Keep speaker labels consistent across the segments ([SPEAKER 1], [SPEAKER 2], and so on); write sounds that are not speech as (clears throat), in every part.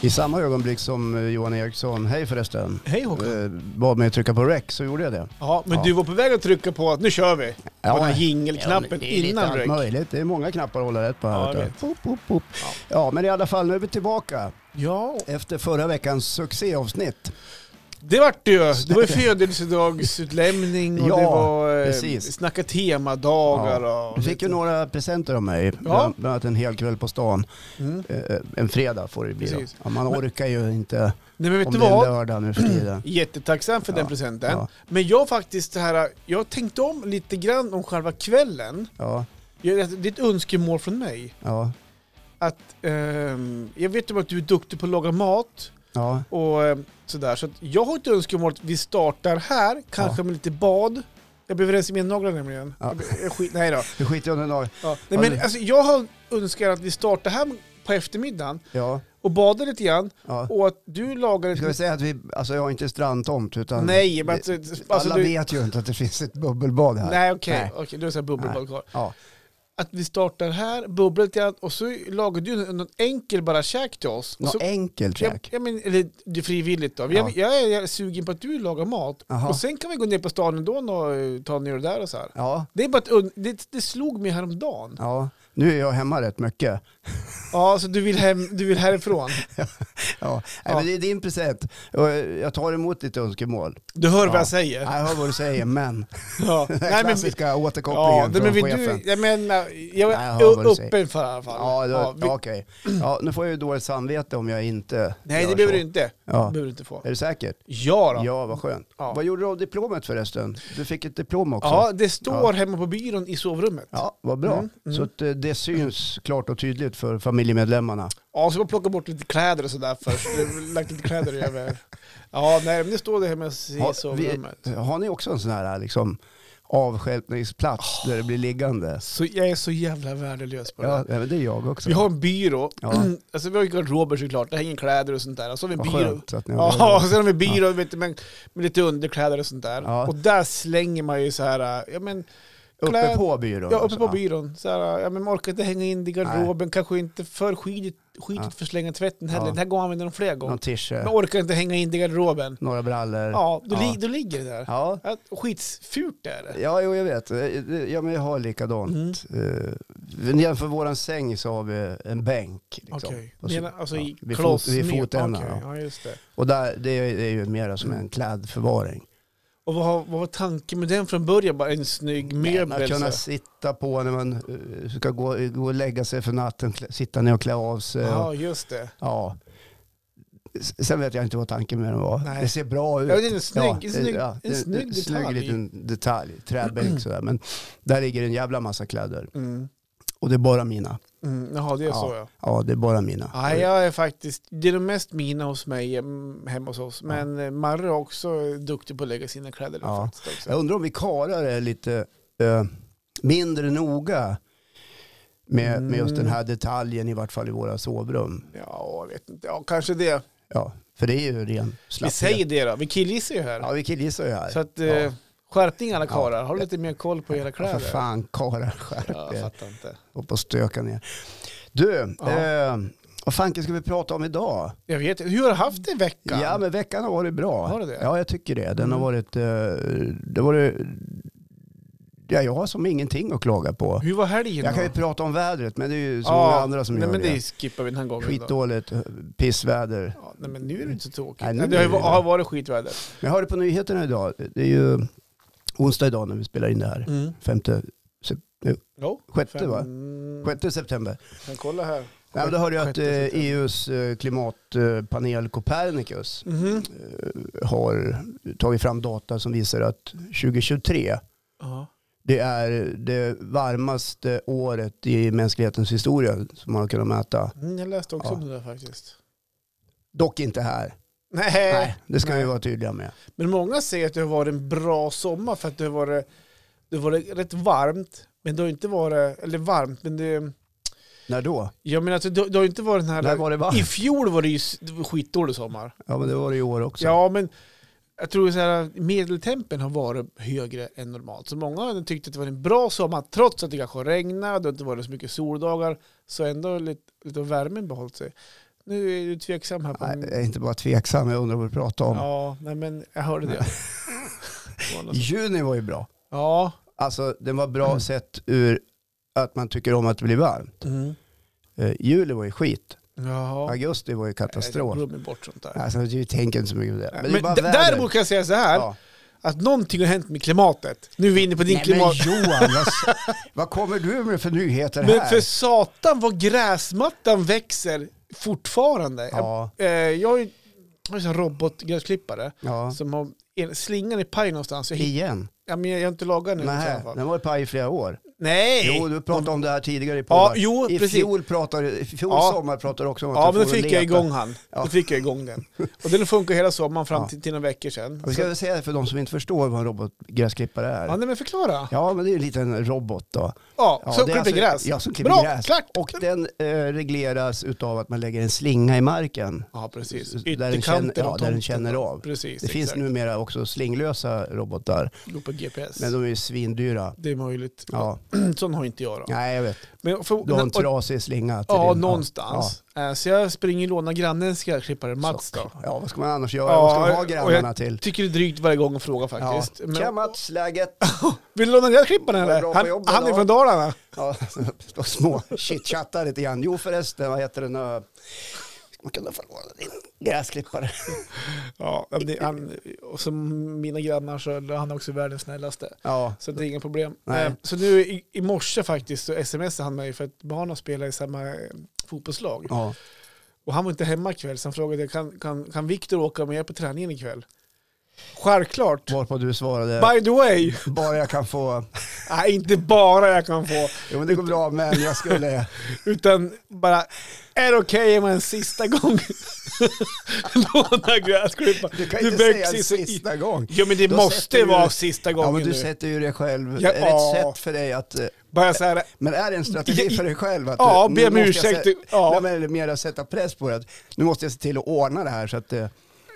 [SPEAKER 1] I samma ögonblick som eh, Johan Eriksson, hej förresten,
[SPEAKER 2] Hej Håkan.
[SPEAKER 1] eh, bad mig att trycka på rec så gjorde jag det.
[SPEAKER 2] Ja, men
[SPEAKER 1] ja.
[SPEAKER 2] du var på väg att trycka på att nu kör vi.
[SPEAKER 1] Ja,
[SPEAKER 2] på den här
[SPEAKER 1] nej.
[SPEAKER 2] jingelknappen
[SPEAKER 1] det är lite
[SPEAKER 2] innan
[SPEAKER 1] allt
[SPEAKER 2] rec.
[SPEAKER 1] möjligt. Det är många knappar att hålla rätt på
[SPEAKER 2] Ja,
[SPEAKER 1] här.
[SPEAKER 2] jag
[SPEAKER 1] Ja,
[SPEAKER 2] vet.
[SPEAKER 1] pop, pop, pop. Ja. men i alla fall, nu är vi tillbaka
[SPEAKER 2] Ja,
[SPEAKER 1] efter förra veckans succéavsnitt.
[SPEAKER 2] det vart det ju. Det var
[SPEAKER 1] (laughs)
[SPEAKER 2] ju födelsedagsutlämning och
[SPEAKER 1] Ja,
[SPEAKER 2] det var eh,
[SPEAKER 1] precis.
[SPEAKER 2] snacka temadagar och...
[SPEAKER 1] Du fick ju några presenter av mig, bland bland annat en hel kväll på stan.
[SPEAKER 2] Mm.
[SPEAKER 1] Eh, En fredag får det bli. då.
[SPEAKER 2] Precis.
[SPEAKER 1] Ja, man orkar ju inte
[SPEAKER 2] Nej men vet
[SPEAKER 1] om
[SPEAKER 2] du
[SPEAKER 1] det är
[SPEAKER 2] vad?
[SPEAKER 1] lördag nu för (clears throat) tiden.
[SPEAKER 2] Jättetacksam för
[SPEAKER 1] Ja,
[SPEAKER 2] den presenten.
[SPEAKER 1] ja.
[SPEAKER 2] Men jag faktiskt det här, jag tänkte om lite grann om själva kvällen.
[SPEAKER 1] Ja,
[SPEAKER 2] Jag- Det är ett önskemål från mig.
[SPEAKER 1] ja,
[SPEAKER 2] Att, ehm, jag vet ju att du är duktig på att laga mat
[SPEAKER 1] ja.
[SPEAKER 2] och ehm, sådär. Så att jag har ett önskemål att vi startar här, kanske
[SPEAKER 1] Ja.
[SPEAKER 2] med lite bad. Jag behöver rensa mina naglar nämligen.
[SPEAKER 1] Ja.
[SPEAKER 2] Jag be- jag skit, nej då.
[SPEAKER 1] Det skiter jag i dag.
[SPEAKER 2] Ja. Nej,
[SPEAKER 1] Ja,
[SPEAKER 2] men
[SPEAKER 1] det-
[SPEAKER 2] alltså, jag har önskar att vi startar här på eftermiddagen
[SPEAKER 1] Ja,
[SPEAKER 2] och badar lite grann
[SPEAKER 1] ja.
[SPEAKER 2] och att du lagar
[SPEAKER 1] Ska vi
[SPEAKER 2] ett...
[SPEAKER 1] säga att vi, alltså jag har inte strandtomt utan
[SPEAKER 2] Nej, men
[SPEAKER 1] det,
[SPEAKER 2] alltså, alltså
[SPEAKER 1] alla
[SPEAKER 2] du...
[SPEAKER 1] vet ju inte att det finns ett bubbelbad här.
[SPEAKER 2] Nej okej,
[SPEAKER 1] Nej.
[SPEAKER 2] okay. du är så här bubbelbad kvar.
[SPEAKER 1] Ja,
[SPEAKER 2] Att vi startar här, bubblar lite grann och så lagar du någon enkel bara käk till oss. Och
[SPEAKER 1] något
[SPEAKER 2] så,
[SPEAKER 1] enkelt
[SPEAKER 2] ja,
[SPEAKER 1] käk.
[SPEAKER 2] ja, men, eller det är frivilligt då. Jag, jag, är, jag är sugen på att du lagar mat.
[SPEAKER 1] Jaha.
[SPEAKER 2] Och sen kan vi gå ner på stan ändå och eh, ta ner det där och så här.
[SPEAKER 1] Ja,
[SPEAKER 2] Det, är bara ett, und- det, det slog
[SPEAKER 1] (laughs)
[SPEAKER 2] mig häromdagen.
[SPEAKER 1] ja. Nu är jag hemma rätt mycket.
[SPEAKER 2] Ja, så du vill, hem, du vill härifrån.
[SPEAKER 1] Ja. Nej,
[SPEAKER 2] Ja.
[SPEAKER 1] Men det är din present. Och eh, Jag tar emot ditt önskemål.
[SPEAKER 2] Du hör vad
[SPEAKER 1] Ja.
[SPEAKER 2] jag säger.
[SPEAKER 1] Jag hör vad du säger, men. (laughs)
[SPEAKER 2] Ja.
[SPEAKER 1] Den
[SPEAKER 2] (laughs) Nej, men,
[SPEAKER 1] klassiska återkopplingen
[SPEAKER 2] ja,
[SPEAKER 1] från
[SPEAKER 2] nej, men vill
[SPEAKER 1] chefen.
[SPEAKER 2] du, jag menar, jag
[SPEAKER 1] Nej, jag
[SPEAKER 2] är
[SPEAKER 1] hör vad du säger.
[SPEAKER 2] öppen för det i alla fall.
[SPEAKER 1] Ja, då,
[SPEAKER 2] Ja, vi-
[SPEAKER 1] okej. Ja, nu får jag ju dåligt samvete om jag inte
[SPEAKER 2] nej,
[SPEAKER 1] gör
[SPEAKER 2] det behöver
[SPEAKER 1] så.
[SPEAKER 2] du inte.
[SPEAKER 1] Ja.
[SPEAKER 2] Det behöver du inte få.
[SPEAKER 1] Är du säker?
[SPEAKER 2] Ja då.
[SPEAKER 1] Ja, vad skönt.
[SPEAKER 2] Ja.
[SPEAKER 1] Vad gjorde du av diplomet förresten? Du fick ett diplom också.
[SPEAKER 2] Ja, det står hemma på byrån i sovrummet. Ja,
[SPEAKER 1] Ja, vad bra.
[SPEAKER 2] Mm, mm.
[SPEAKER 1] Så att eh, det syns klart och tydligt för familjemedlemmarna.
[SPEAKER 2] så jag plocka bort lite kläder och sådär först. Jag har lagt lite kläder över. Ja, nej, men det står det hemma i
[SPEAKER 1] Har, vi,
[SPEAKER 2] sovrummet.
[SPEAKER 1] har ni också en sån här liksom, avstjälpningsplats
[SPEAKER 2] Ah.
[SPEAKER 1] där det blir liggande?
[SPEAKER 2] Så jag är så jävla värdelös på det.
[SPEAKER 1] Ja, ja, men det är jag också.
[SPEAKER 2] Vi har en byrå,
[SPEAKER 1] Ja.
[SPEAKER 2] (clears throat) alltså vi har ju garderober såklart, det hänger kläder och sånt där. Och så har vi en
[SPEAKER 1] Vad
[SPEAKER 2] byrå.
[SPEAKER 1] skönt att ni har
[SPEAKER 2] Ja, och
[SPEAKER 1] det.
[SPEAKER 2] sen har vi en byrå vet du, med, med lite underkläder och sånt där.
[SPEAKER 1] Ja.
[SPEAKER 2] Och där slänger man ju så här, ja men,
[SPEAKER 1] Uppe
[SPEAKER 2] kläder-
[SPEAKER 1] på byrån?
[SPEAKER 2] ja, uppe
[SPEAKER 1] alltså.
[SPEAKER 2] på byrån. Så här, ja, men man orkar inte hänga in det i garderoben, kanske inte för skitigt, skitigt
[SPEAKER 1] Ja.
[SPEAKER 2] för att slänga tvätten heller.
[SPEAKER 1] Ja.
[SPEAKER 2] Den här gången använder de flera
[SPEAKER 1] Någon
[SPEAKER 2] gånger. Man
[SPEAKER 1] tische,
[SPEAKER 2] orkar inte hänga in det i garderoben.
[SPEAKER 1] några brallor.
[SPEAKER 2] Ja, då,
[SPEAKER 1] Ja.
[SPEAKER 2] Li, då ligger det där.
[SPEAKER 1] Ja.
[SPEAKER 2] Ja, Skitfult är det.
[SPEAKER 1] Ja, jo, jag vet. Eh, det- Ja, men jag har likadant. Mm. Jämför våran säng så har vi en bänk. Liksom.
[SPEAKER 2] Okej,
[SPEAKER 1] Och så-
[SPEAKER 2] Menar- alltså i
[SPEAKER 1] vid,
[SPEAKER 2] kloss
[SPEAKER 1] fot, vid
[SPEAKER 2] ner.
[SPEAKER 1] fotändan.
[SPEAKER 2] Okej,
[SPEAKER 1] Ja.
[SPEAKER 2] ja, Mm. just det.
[SPEAKER 1] Och där, det är, det är ju mera som en klädförvaring.
[SPEAKER 2] Och vad, har- vad var tanken med den från början? Bara en snygg
[SPEAKER 1] att
[SPEAKER 2] möbel?
[SPEAKER 1] kunna
[SPEAKER 2] så.
[SPEAKER 1] sitta på när man eh, ska gå, gå och lägga sig för natten, klä- sitta ner och klä av sig. Och,
[SPEAKER 2] Ja, just det.
[SPEAKER 1] ja. S- Sen vet jag inte vad tanken med den var.
[SPEAKER 2] Nej.
[SPEAKER 1] Det ser bra ut.
[SPEAKER 2] Ja, det är en snygg- en
[SPEAKER 1] det-
[SPEAKER 2] snygg- en
[SPEAKER 1] det är
[SPEAKER 2] snygg
[SPEAKER 1] snygg
[SPEAKER 2] detalj.
[SPEAKER 1] liten detalj, träbänk sådär. Men där ligger en jävla massa kläder.
[SPEAKER 2] Mm.
[SPEAKER 1] Och det är bara mina.
[SPEAKER 2] Mm. Jaha, det är
[SPEAKER 1] Ja.
[SPEAKER 2] så ja.
[SPEAKER 1] Ja, det är bara mina.
[SPEAKER 2] Ah, Ja, jag är faktiskt, det är de mest mina hos mig mm, hemma hos oss. Men ja. Marre är också duktig på att lägga sina kläder där
[SPEAKER 1] Ja.
[SPEAKER 2] faktiskt också.
[SPEAKER 1] Jag undrar om vi karlar är lite eh, mindre noga med, med just den här
[SPEAKER 2] Mm.
[SPEAKER 1] detaljen, i vart fall i våra sovrum.
[SPEAKER 2] Ja, jag vet inte. Ja, kanske det.
[SPEAKER 1] Ja, för det är ju ren
[SPEAKER 2] Vi
[SPEAKER 1] slapphet.
[SPEAKER 2] säger det då. Vi killgissar ju här.
[SPEAKER 1] Ja, vi killgissar ju här.
[SPEAKER 2] Så att, eh,
[SPEAKER 1] Ja.
[SPEAKER 2] skärpning alla
[SPEAKER 1] Ja.
[SPEAKER 2] karlar. Har lite mer koll på era
[SPEAKER 1] Ja, för
[SPEAKER 2] kläder.
[SPEAKER 1] fan, karlar
[SPEAKER 2] Ja,
[SPEAKER 1] skärp
[SPEAKER 2] jag
[SPEAKER 1] er.
[SPEAKER 2] fattar inte.
[SPEAKER 1] Och på stöka ner. Du,
[SPEAKER 2] Ja.
[SPEAKER 1] eh, vad fanken ska vi prata om idag?
[SPEAKER 2] Jag vet inte. Hur har du haft det i veckan?
[SPEAKER 1] Ja, men veckan har varit bra.
[SPEAKER 2] Har det det?
[SPEAKER 1] Ja, jag tycker det. Den har
[SPEAKER 2] Mm.
[SPEAKER 1] varit... Eh, det har varit ja, jag har som ingenting att klaga på.
[SPEAKER 2] Hur var helgen
[SPEAKER 1] Jag kan ju
[SPEAKER 2] då?
[SPEAKER 1] prata om vädret, men det är ju så
[SPEAKER 2] Ja,
[SPEAKER 1] många andra som
[SPEAKER 2] Nej,
[SPEAKER 1] gör
[SPEAKER 2] men
[SPEAKER 1] det.
[SPEAKER 2] det skippar vi den här gången. då.
[SPEAKER 1] Skitdåligt, eh, pissväder.
[SPEAKER 2] Ja, nej, men nu är det inte så tråkigt.
[SPEAKER 1] Nej,
[SPEAKER 2] Nej,
[SPEAKER 1] nu
[SPEAKER 2] det har ju
[SPEAKER 1] är det
[SPEAKER 2] va-
[SPEAKER 1] det.
[SPEAKER 2] har varit skitväder.
[SPEAKER 1] Men jag hörde på nyheterna idag, det är ju onsdag idag när vi spelar in det här.
[SPEAKER 2] Mm.
[SPEAKER 1] Femte,
[SPEAKER 2] Jo,
[SPEAKER 1] sjätte
[SPEAKER 2] fem-
[SPEAKER 1] va? Sjätte september.
[SPEAKER 2] Men kolla här.
[SPEAKER 1] Nej, men då hörde jag att eh,
[SPEAKER 2] Sjätte september.
[SPEAKER 1] EUs eh, klimatpanel Copernicus
[SPEAKER 2] Mhm.
[SPEAKER 1] eh, har tagit fram data som visar att 2023
[SPEAKER 2] Ja.
[SPEAKER 1] det är det varmaste året i mänsklighetens historia som man har kunnat mäta.
[SPEAKER 2] Mm, jag läste också
[SPEAKER 1] Ja.
[SPEAKER 2] om det där faktiskt.
[SPEAKER 1] Dock inte här.
[SPEAKER 2] Nej.
[SPEAKER 1] Nej, det ska vi
[SPEAKER 2] Nej.
[SPEAKER 1] vara tydliga med.
[SPEAKER 2] men många säger att det har varit en bra sommar för att det har varit, det har varit rätt varmt. Men det har inte varit, eller varmt, men det,
[SPEAKER 1] När då?
[SPEAKER 2] jag menar att alltså, det, det har inte varit den här,
[SPEAKER 1] När var Alltså. det
[SPEAKER 2] i
[SPEAKER 1] varmt?
[SPEAKER 2] fjol var det ju s- det var skitdålig sommar.
[SPEAKER 1] Ja men det var det i år också.
[SPEAKER 2] Ja, men jag tror så här, medeltempen har varit högre än normalt. Så många har tyckt att det var en bra sommar, trots att det kanske regnade och det inte varit så mycket soldagar, så ändå lite, lite av värmen behållit sig. Nu är du tveksam här. På
[SPEAKER 1] Nej,
[SPEAKER 2] min...
[SPEAKER 1] jag är inte bara tveksam, jag undrar vad du pratar om.
[SPEAKER 2] Ja, nej men jag hörde det. Det var något-
[SPEAKER 1] Juni var ju bra.
[SPEAKER 2] (laughs) ja.
[SPEAKER 1] Alltså den var bra
[SPEAKER 2] Mm.
[SPEAKER 1] sett ur att man tycker om att det blir varmt.
[SPEAKER 2] Mm.
[SPEAKER 1] Eh, juli var ju skit.
[SPEAKER 2] Jaha.
[SPEAKER 1] Augusti var ju katastrof.
[SPEAKER 2] Nej, Jag glömmer bort sånt där.
[SPEAKER 1] Alltså du tänker inte så mycket på det. Men, det är
[SPEAKER 2] Men
[SPEAKER 1] bara
[SPEAKER 2] d-
[SPEAKER 1] väder.
[SPEAKER 2] däremot kan jag säga så här,
[SPEAKER 1] Ja.
[SPEAKER 2] att någonting har hänt med klimatet. Nu är vi inne på din
[SPEAKER 1] Nej, men
[SPEAKER 2] klimat...
[SPEAKER 1] Johan, vad, s- (laughs) vad kommer du med för nyheter
[SPEAKER 2] Men
[SPEAKER 1] här?
[SPEAKER 2] för satan vad gräsmattan växer fortfarande.
[SPEAKER 1] Ja,
[SPEAKER 2] Jag, eh, jag har ju jag har ju en robotgräsklippare
[SPEAKER 1] ja.
[SPEAKER 2] som har en, slingan i paj någonstans. Jag, hitt-
[SPEAKER 1] Igen?
[SPEAKER 2] ja, men jag har inte lagat den än i
[SPEAKER 1] Nej,
[SPEAKER 2] alla fall.
[SPEAKER 1] den var paj i flera år.
[SPEAKER 2] Nej!
[SPEAKER 1] Jo, du pratade om det här tidigare i
[SPEAKER 2] ja,
[SPEAKER 1] podden.
[SPEAKER 2] jo,
[SPEAKER 1] I
[SPEAKER 2] precis.
[SPEAKER 1] fjol, pratade, i fjol
[SPEAKER 2] Ja.
[SPEAKER 1] sommar pratade du också om att
[SPEAKER 2] Ja,
[SPEAKER 1] du
[SPEAKER 2] men då
[SPEAKER 1] får
[SPEAKER 2] fick
[SPEAKER 1] leta.
[SPEAKER 2] jag igång han.
[SPEAKER 1] Ja.
[SPEAKER 2] Då fick jag igång den. Och den funkar hela sommaren fram
[SPEAKER 1] Ja.
[SPEAKER 2] till, till några veckor sedan.
[SPEAKER 1] Vi
[SPEAKER 2] Så,
[SPEAKER 1] ska väl säga det för de som inte förstår vad en robotgräsklippare är.
[SPEAKER 2] ja, nej, men förklara. Ja,
[SPEAKER 1] Ja, men det är ju en liten robot då. Ja,
[SPEAKER 2] så
[SPEAKER 1] det är
[SPEAKER 2] klipper
[SPEAKER 1] alltså-
[SPEAKER 2] gräs.
[SPEAKER 1] Ja, som klipper
[SPEAKER 2] Bra,
[SPEAKER 1] gräs.
[SPEAKER 2] klart.
[SPEAKER 1] Och den eh, regleras utav att man lägger en slinga i marken.
[SPEAKER 2] Ja, precis.
[SPEAKER 1] Där den känner-
[SPEAKER 2] Ytterkanten
[SPEAKER 1] ja,
[SPEAKER 2] av
[SPEAKER 1] där den
[SPEAKER 2] tomten,
[SPEAKER 1] känner
[SPEAKER 2] va?
[SPEAKER 1] av.
[SPEAKER 2] Precis,
[SPEAKER 1] Det finns
[SPEAKER 2] exakt.
[SPEAKER 1] numera också slinglösa robotar,
[SPEAKER 2] Gå på GPS.
[SPEAKER 1] men de är ju svindyra.
[SPEAKER 2] Det är möjligt.
[SPEAKER 1] Ja,
[SPEAKER 2] (clears throat) Sån har inte jag då.
[SPEAKER 1] nej jag vet.
[SPEAKER 2] Men för,
[SPEAKER 1] Du har en
[SPEAKER 2] och-
[SPEAKER 1] trasig slinga. till
[SPEAKER 2] Ja,
[SPEAKER 1] din-
[SPEAKER 2] någonstans. Eh, Så jag springer och lånar grannens gräsklippare, Mats då.
[SPEAKER 1] Ja, vad ska man annars göra?
[SPEAKER 2] Ja,
[SPEAKER 1] vad ska man ha
[SPEAKER 2] och jag-
[SPEAKER 1] grannarna till?
[SPEAKER 2] Tycker det är drygt varje gång att fråga faktiskt.
[SPEAKER 1] Ja.
[SPEAKER 2] Men-
[SPEAKER 1] Tja Mats, läget?
[SPEAKER 2] vill du låna gräsklipparen
[SPEAKER 1] Var det
[SPEAKER 2] eller?
[SPEAKER 1] bra på
[SPEAKER 2] Han,
[SPEAKER 1] jobbet
[SPEAKER 2] han är
[SPEAKER 1] då?
[SPEAKER 2] från Dalarna.
[SPEAKER 1] Ja, (laughs) de små chitchattar lite grann. Jo förresten, vad heter den? eh, Man kunde få låna din gräsklippare.
[SPEAKER 2] Ja, det, han, och som mina grannar så är han också världens snällaste.
[SPEAKER 1] Ja,
[SPEAKER 2] Så det är inga problem.
[SPEAKER 1] Nej.
[SPEAKER 2] Eh, Så nu i, i morse faktiskt så smsade han mig för att barnen spelar i samma eh, fotbollslag.
[SPEAKER 1] ja.
[SPEAKER 2] Och han var inte hemma ikväll så han frågade jag, kan, kan, kan Viktor åka med på träningen ikväll? Självklart.
[SPEAKER 1] Varpå du svarade,
[SPEAKER 2] By the way. (laughs)
[SPEAKER 1] bara jag kan få...
[SPEAKER 2] Nej, inte bara jag kan få.
[SPEAKER 1] Jo men det går bra, men jag
[SPEAKER 2] (laughs)
[SPEAKER 1] skulle...
[SPEAKER 2] Utan bara, är det okej om jag en sista gång (laughs) lånar gräsklippa?
[SPEAKER 1] Du kan
[SPEAKER 2] Du
[SPEAKER 1] inte
[SPEAKER 2] växer
[SPEAKER 1] säga en
[SPEAKER 2] så i-
[SPEAKER 1] sista gång.
[SPEAKER 2] Ja men det
[SPEAKER 1] Då sätter
[SPEAKER 2] måste
[SPEAKER 1] du-
[SPEAKER 2] vara sista
[SPEAKER 1] Ja
[SPEAKER 2] gången
[SPEAKER 1] men du
[SPEAKER 2] nu.
[SPEAKER 1] sätter ju dig själv,
[SPEAKER 2] Ja,
[SPEAKER 1] är det ett
[SPEAKER 2] ja.
[SPEAKER 1] sätt för dig att... eh,
[SPEAKER 2] Bara så här,
[SPEAKER 1] Men är det en
[SPEAKER 2] Ja,
[SPEAKER 1] strategi
[SPEAKER 2] i-
[SPEAKER 1] för dig själv? Att
[SPEAKER 2] ja,
[SPEAKER 1] du-
[SPEAKER 2] be
[SPEAKER 1] nu
[SPEAKER 2] om
[SPEAKER 1] måste jag
[SPEAKER 2] ursäkt.
[SPEAKER 1] se-
[SPEAKER 2] Ja.
[SPEAKER 1] Nej, men eller mer att sätta press på det. att Nu måste jag se till att ordna det här så att... eh,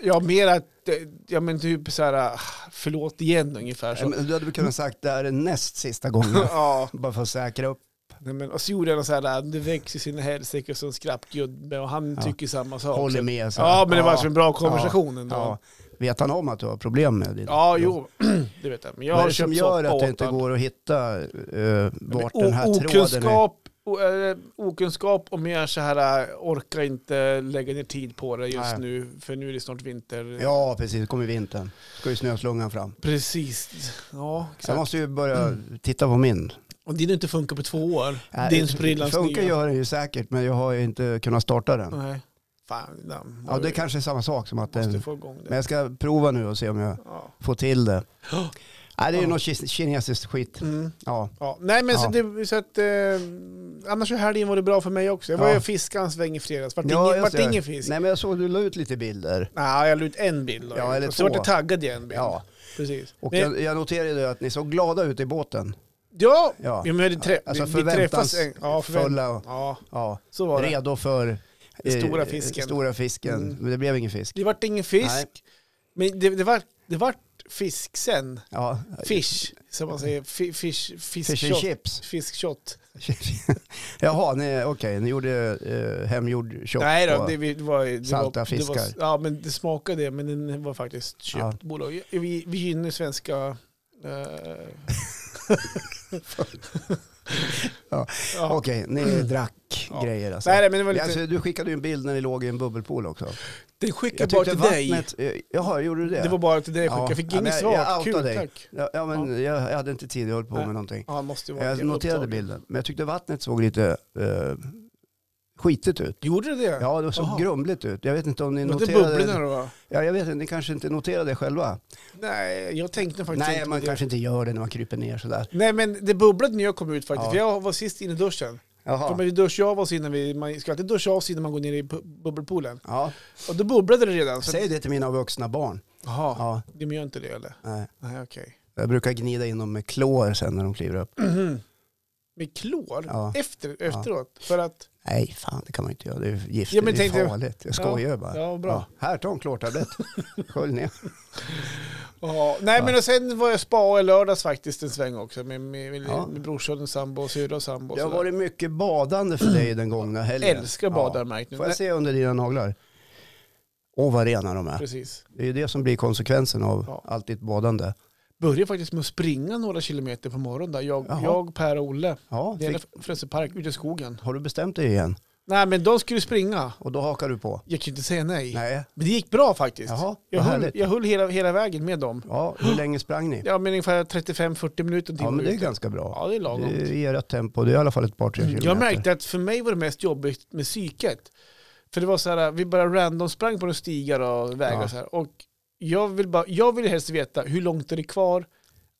[SPEAKER 2] ja mer att, eh, ja men typ så här, ah, förlåt igen ungefär
[SPEAKER 1] Ja,
[SPEAKER 2] så.
[SPEAKER 1] men Du hade väl kunnat sagt det här är näst sista
[SPEAKER 2] (laughs)
[SPEAKER 1] gången.
[SPEAKER 2] Ja,
[SPEAKER 1] Bara för att säkra upp.
[SPEAKER 2] nej, men, och så gjorde jag något så här, ah, det växer sina helsike som skrattgubbe och han
[SPEAKER 1] Ja.
[SPEAKER 2] tycker samma sak.
[SPEAKER 1] Håller
[SPEAKER 2] Så-
[SPEAKER 1] med. Så.
[SPEAKER 2] Ja men det var
[SPEAKER 1] ja.
[SPEAKER 2] som en bra konversation ändå.
[SPEAKER 1] ja.
[SPEAKER 2] Ja,
[SPEAKER 1] Vet han om att du har problem med det?
[SPEAKER 2] jo, (clears throat) det vet jag. Men jag
[SPEAKER 1] Vad är
[SPEAKER 2] har
[SPEAKER 1] det som
[SPEAKER 2] köpt
[SPEAKER 1] gör
[SPEAKER 2] soppa
[SPEAKER 1] att det
[SPEAKER 2] åt
[SPEAKER 1] inte
[SPEAKER 2] han.
[SPEAKER 1] går att hitta eh, vart
[SPEAKER 2] O-
[SPEAKER 1] den här tråden är?
[SPEAKER 2] okunskap, o- eh, okunskap och mer så här, eh, orkar inte lägga ner tid på det just
[SPEAKER 1] Nej.
[SPEAKER 2] nu, för nu är det snart vinter.
[SPEAKER 1] Ja, precis. Det kommer vintern. Ska ju snöslungan fram.
[SPEAKER 2] Precis. Ja,
[SPEAKER 1] Jag
[SPEAKER 2] exakt. Mm.
[SPEAKER 1] måste ju börja titta på min.
[SPEAKER 2] Och din har inte funkat på två år.
[SPEAKER 1] Nej,
[SPEAKER 2] din sprillans
[SPEAKER 1] Äh, Funkar
[SPEAKER 2] nya.
[SPEAKER 1] gör den ju säkert, men jag har ju inte kunnat starta den.
[SPEAKER 2] Nej. Fan, den
[SPEAKER 1] Ja, det kanske är samma sak som att
[SPEAKER 2] Måste
[SPEAKER 1] den...
[SPEAKER 2] få igång
[SPEAKER 1] Men
[SPEAKER 2] det.
[SPEAKER 1] jag ska prova nu och se om jag
[SPEAKER 2] Ja.
[SPEAKER 1] får till det.
[SPEAKER 2] Ja.
[SPEAKER 1] Nej, det är ju
[SPEAKER 2] Ja.
[SPEAKER 1] något kis- kinesiskt skit.
[SPEAKER 2] Mm.
[SPEAKER 1] Ja.
[SPEAKER 2] Ja. Nej men så,
[SPEAKER 1] Ja.
[SPEAKER 2] det, så att, eh, annars i helgen var det bra för mig också. Jag var
[SPEAKER 1] Ja.
[SPEAKER 2] ju och fiskade en sväng i fredags. Vart
[SPEAKER 1] Ja,
[SPEAKER 2] ingen,
[SPEAKER 1] just
[SPEAKER 2] vart
[SPEAKER 1] det.
[SPEAKER 2] ingen fisk? Nej.
[SPEAKER 1] Nej men jag såg du la ut lite bilder.
[SPEAKER 2] jag la ut en bild. då.
[SPEAKER 1] Ja, eller
[SPEAKER 2] Och så vart
[SPEAKER 1] två.
[SPEAKER 2] jag taggad i en bild.
[SPEAKER 1] Ja.
[SPEAKER 2] Precis.
[SPEAKER 1] Och
[SPEAKER 2] Men-
[SPEAKER 1] jag, jag noterade ju att ni såg glada ut i båten.
[SPEAKER 2] Ja,
[SPEAKER 1] Ja.
[SPEAKER 2] ja. men vi, hade trä-
[SPEAKER 1] Alltså
[SPEAKER 2] vi, vi träffas en ja, förvänt-
[SPEAKER 1] förväntansfulla och
[SPEAKER 2] ja,
[SPEAKER 1] ja,
[SPEAKER 2] så var det.
[SPEAKER 1] redo för eh,
[SPEAKER 2] Den stora fisken.
[SPEAKER 1] stora fisken.
[SPEAKER 2] Mm.
[SPEAKER 1] Men det blev ingen fisk.
[SPEAKER 2] Det vart ingen fisk,
[SPEAKER 1] Nej.
[SPEAKER 2] men det, det, vart, det vart fisk sen.
[SPEAKER 1] Ja.
[SPEAKER 2] Fish, som man säger. Fi- Fish, fisk,
[SPEAKER 1] Fish and chips. (laughs)
[SPEAKER 2] Fiskshot.
[SPEAKER 1] Jaha, ni- okej, ni gjorde eh, hemgjord shot.
[SPEAKER 2] Nej då,
[SPEAKER 1] på-
[SPEAKER 2] det, vi- det var... Det
[SPEAKER 1] Salta
[SPEAKER 2] var,
[SPEAKER 1] fiskar.
[SPEAKER 2] Det var, ja, men det smakade det, men den var faktiskt köpt
[SPEAKER 1] Ja.
[SPEAKER 2] bolag. Vi, vi gynnar svenska... eh, (laughs)
[SPEAKER 1] (laughs) Ja,
[SPEAKER 2] ja.
[SPEAKER 1] Okej, ni drack
[SPEAKER 2] Mm. Ja.
[SPEAKER 1] grejer alltså.
[SPEAKER 2] Nej, nej, men det var lite...
[SPEAKER 1] alltså. Du skickade ju en bild när ni låg i en bubbelpool också.
[SPEAKER 2] den skickade bara till dig.
[SPEAKER 1] dig. Eh, Jaha, gjorde du det?
[SPEAKER 2] Det var bara till dig jag
[SPEAKER 1] Ja.
[SPEAKER 2] skickade. Jag fick
[SPEAKER 1] Ja, men jag-
[SPEAKER 2] inget svar.
[SPEAKER 1] jag outar
[SPEAKER 2] Kul,
[SPEAKER 1] dig.
[SPEAKER 2] tack.
[SPEAKER 1] Ja, ja, men jag, jag hade inte tid, jag höll på
[SPEAKER 2] Nej.
[SPEAKER 1] med någonting.
[SPEAKER 2] Ja, han måste ju vara
[SPEAKER 1] Jag noterade
[SPEAKER 2] upptagen.
[SPEAKER 1] bilden, men jag tyckte vattnet såg lite eh, skitigt ut.
[SPEAKER 2] Gjorde det det?
[SPEAKER 1] Ja, det såg
[SPEAKER 2] Aha.
[SPEAKER 1] grumligt ut. Jag vet inte om ni
[SPEAKER 2] Var det
[SPEAKER 1] noterade
[SPEAKER 2] bubblorna då?
[SPEAKER 1] Ja, jag vet inte, ni kanske inte noterade det själva.
[SPEAKER 2] Nej, jag tänkte faktiskt
[SPEAKER 1] Nej,
[SPEAKER 2] inte
[SPEAKER 1] man
[SPEAKER 2] på det.
[SPEAKER 1] kanske inte gör det när man kryper ner sådär.
[SPEAKER 2] Nej, men det bubblade när jag kom ut faktiskt.
[SPEAKER 1] Ja.
[SPEAKER 2] För jag var sist inne i duschen. För
[SPEAKER 1] Jaha.
[SPEAKER 2] man duschar av oss innan vi... Man ska alltid duscha av sig innan man går ner i bu- bubbelpoolen.
[SPEAKER 1] Ja,
[SPEAKER 2] Och då bubblade det redan. Så
[SPEAKER 1] säg det till mina vuxna barn.
[SPEAKER 2] Jaha,
[SPEAKER 1] Ja,
[SPEAKER 2] de gör inte det eller?
[SPEAKER 1] nej.
[SPEAKER 2] Nej, okej. (clears throat)
[SPEAKER 1] Jag brukar gnida in dem med klor sen när de kliver upp.
[SPEAKER 2] Med klor?
[SPEAKER 1] Ja.
[SPEAKER 2] Efter, efteråt? För att...
[SPEAKER 1] Nej, fan det kan man inte göra. Det är gift,
[SPEAKER 2] Ja, men
[SPEAKER 1] det är
[SPEAKER 2] tänkte jag-
[SPEAKER 1] farligt. Jag skojar bara.
[SPEAKER 2] Ja, bra.
[SPEAKER 1] här, ta en
[SPEAKER 2] (laughs)
[SPEAKER 1] klortablett. Skölj ner.
[SPEAKER 2] Ja. Nej,
[SPEAKER 1] Ja.
[SPEAKER 2] men och sen var jag spa i lördags faktiskt en sväng också med, med, med,
[SPEAKER 1] Ja.
[SPEAKER 2] med brorsan, och sambo, och syrra och sambo. och
[SPEAKER 1] Det har
[SPEAKER 2] sådär.
[SPEAKER 1] varit mycket badande för dig den gångna helgen.
[SPEAKER 2] Älskar att bada har jag märkt nu.
[SPEAKER 1] Ja. Får jag se under dina naglar? Åh, vad rena de är.
[SPEAKER 2] Precis.
[SPEAKER 1] Det är ju det som blir konsekvensen av
[SPEAKER 2] Ja.
[SPEAKER 1] allt ditt badande.
[SPEAKER 2] Började faktiskt med att springa några kilometer på morgonen där. Jag,
[SPEAKER 1] Jaha.
[SPEAKER 2] jag Per och Olle.
[SPEAKER 1] Ja,
[SPEAKER 2] Det
[SPEAKER 1] fick,
[SPEAKER 2] är Frösö park ute i skogen.
[SPEAKER 1] har du bestämt dig igen?
[SPEAKER 2] Nej, men de skulle springa.
[SPEAKER 1] Och då hakar du på?
[SPEAKER 2] Jag kunde inte säga nej.
[SPEAKER 1] Nej.
[SPEAKER 2] Men det gick bra faktiskt.
[SPEAKER 1] Jaha,
[SPEAKER 2] jag
[SPEAKER 1] vad
[SPEAKER 2] höll,
[SPEAKER 1] härligt.
[SPEAKER 2] jag höll hela, hela vägen med dem.
[SPEAKER 1] Ja, hur länge sprang ni?
[SPEAKER 2] Ja, men ungefär 35-40 minuter. en timme
[SPEAKER 1] Ja, men det är
[SPEAKER 2] ute.
[SPEAKER 1] ganska bra.
[SPEAKER 2] Ja, det är lagom. Mm,
[SPEAKER 1] Det är i ert tempo. Det är i alla fall ett par, tre kilometer.
[SPEAKER 2] Jag märkte att för mig var det mest jobbigt med psyket. För det var så här, vi bara random sprang på några stigar och vägar
[SPEAKER 1] Ja.
[SPEAKER 2] och så här. Och jag vill, bara, jag vill helst veta hur långt är det kvar.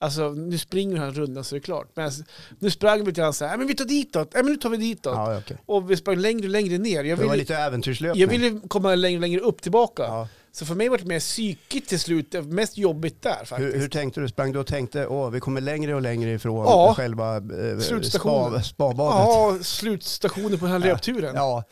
[SPEAKER 2] Alltså nu springer han rundan så är det klart. Men alltså, nu sprang vi lite grann så här, "Nej, men vi tar ditåt, Nej, men nu tar vi ditåt.
[SPEAKER 1] Ja, okej.
[SPEAKER 2] Och vi sprang längre och längre ner. Jag
[SPEAKER 1] Det var
[SPEAKER 2] ville,
[SPEAKER 1] lite äventyrslöpning.
[SPEAKER 2] jag ville komma längre och längre upp tillbaka.
[SPEAKER 1] Ja.
[SPEAKER 2] Så för mig var det mer psykiskt till slut, det mest jobbigt där faktiskt.
[SPEAKER 1] Hur, hur tänkte du? Sprang du och tänkte åh, vi kommer längre och längre ifrån
[SPEAKER 2] Ja.
[SPEAKER 1] själva eh,
[SPEAKER 2] Slutstationen.
[SPEAKER 1] spa, spabadet?
[SPEAKER 2] Ja, slutstationen på den här löpturen. Ja.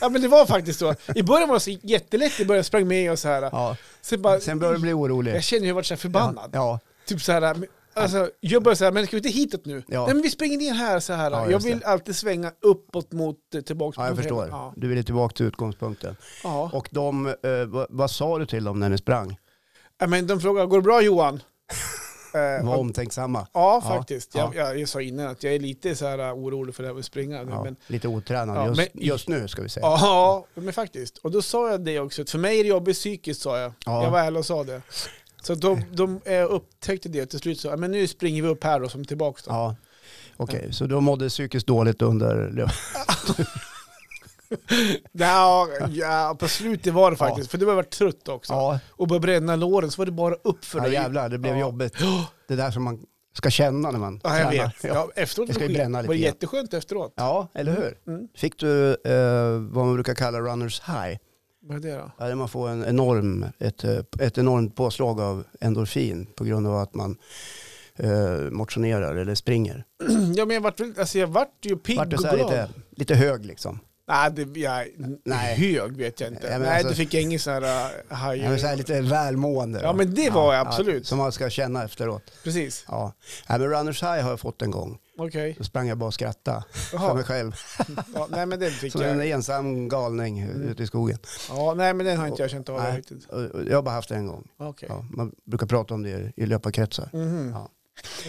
[SPEAKER 1] Ja.
[SPEAKER 2] men det var faktiskt så. I början var det så jättelätt, i början sprang med och så här.
[SPEAKER 1] ja.
[SPEAKER 2] Sen bara,
[SPEAKER 1] Sen började du bli orolig.
[SPEAKER 2] jag känner hur jag varit så här förbannad.
[SPEAKER 1] Ja,
[SPEAKER 2] Typ så här, men- alltså, jag börjar säga, men ska vi inte hitåt nu?
[SPEAKER 1] Ja.
[SPEAKER 2] Nej men vi springer ner här så här.
[SPEAKER 1] Ja,
[SPEAKER 2] jag
[SPEAKER 1] just
[SPEAKER 2] vill alltid svänga uppåt mot eh, tillbaks.
[SPEAKER 1] ja, jag
[SPEAKER 2] mot-
[SPEAKER 1] förstår.
[SPEAKER 2] Ja.
[SPEAKER 1] Du ville tillbaka till utgångspunkten.
[SPEAKER 2] Ja.
[SPEAKER 1] Och de, eh, vad, vad sa du till dem när ni sprang?
[SPEAKER 2] Ja, men de frågar, går det
[SPEAKER 1] (laughs)
[SPEAKER 2] bra Johan? Eh,
[SPEAKER 1] Var omtänksamma.
[SPEAKER 2] ja
[SPEAKER 1] Ja,
[SPEAKER 2] faktiskt. Jag, jag, jag sa innan att jag är lite så här eh, orolig för det här med att springa. nu,
[SPEAKER 1] Ja,
[SPEAKER 2] Men,
[SPEAKER 1] lite otränade
[SPEAKER 2] Ja,
[SPEAKER 1] just,
[SPEAKER 2] men-
[SPEAKER 1] just nu ska vi säga.
[SPEAKER 2] ja, men faktiskt. Och då sa jag det också, att för mig är det jobbigt psykiskt sa jag.
[SPEAKER 1] Ja.
[SPEAKER 2] Jag var ärlig och sa det. Så de, de eh, upptäckte det och till slut så, ja, men nu springer vi upp här då som tillbaks då.
[SPEAKER 1] Ja. Okej, så du mådde psykiskt dåligt under löp-
[SPEAKER 2] Ja, ja, på slutet var det faktiskt. För du har varit trött också.
[SPEAKER 1] Ja,
[SPEAKER 2] Och började bränna låren så var det bara upp för
[SPEAKER 1] ja
[SPEAKER 2] dig.
[SPEAKER 1] jävlar, det blev
[SPEAKER 2] Ja.
[SPEAKER 1] jobbigt.
[SPEAKER 2] Ja,
[SPEAKER 1] Det där som man ska känna när man
[SPEAKER 2] Ja, jag
[SPEAKER 1] tränar.
[SPEAKER 2] vet.
[SPEAKER 1] Ja.
[SPEAKER 2] Ja, efteråt
[SPEAKER 1] Det ska
[SPEAKER 2] var
[SPEAKER 1] ju
[SPEAKER 2] skit-
[SPEAKER 1] bränna lite
[SPEAKER 2] var det
[SPEAKER 1] grann.
[SPEAKER 2] jätteskönt efteråt.
[SPEAKER 1] ja, eller hur?
[SPEAKER 2] Mm.
[SPEAKER 1] Fick du eh, vad man brukar kalla runners high?
[SPEAKER 2] Vad är det då? (clears throat)
[SPEAKER 1] Ja, där man får en enorm, ett, eh, ett enormt påslag av endorfin på grund av att man eh, motionerar eller springer.
[SPEAKER 2] Ja, men jag vart, väl- alltså, jag vart ju pigg
[SPEAKER 1] Vart det
[SPEAKER 2] och
[SPEAKER 1] så här
[SPEAKER 2] glad.
[SPEAKER 1] lite, lite hög liksom.
[SPEAKER 2] Nej, det, jag,
[SPEAKER 1] Nej.
[SPEAKER 2] hög vet jag inte.
[SPEAKER 1] Ja, men
[SPEAKER 2] Nej,
[SPEAKER 1] alltså-
[SPEAKER 2] då fick jag ingen sån här äh, haj.
[SPEAKER 1] Ja, men så här lite välmående.
[SPEAKER 2] Ja, men det var jag absolut.
[SPEAKER 1] som man ska känna efteråt.
[SPEAKER 2] Precis.
[SPEAKER 1] Ja. Nej, men runners high har jag fått en gång.
[SPEAKER 2] Okej.
[SPEAKER 1] Då sprang jag bara och skrattade för
[SPEAKER 2] Jaha.
[SPEAKER 1] mig själv.
[SPEAKER 2] Ja, nej, men den fick
[SPEAKER 1] Som en
[SPEAKER 2] jag.
[SPEAKER 1] ensam galning
[SPEAKER 2] Mm.
[SPEAKER 1] ute i skogen.
[SPEAKER 2] Ja, nej, men den har inte jag känt av
[SPEAKER 1] Nej.
[SPEAKER 2] riktigt.
[SPEAKER 1] Och- och Jag har bara haft det en gång.
[SPEAKER 2] Okej.
[SPEAKER 1] Ja, man brukar prata om det i löparkretsar.
[SPEAKER 2] Mhm.
[SPEAKER 1] Ja.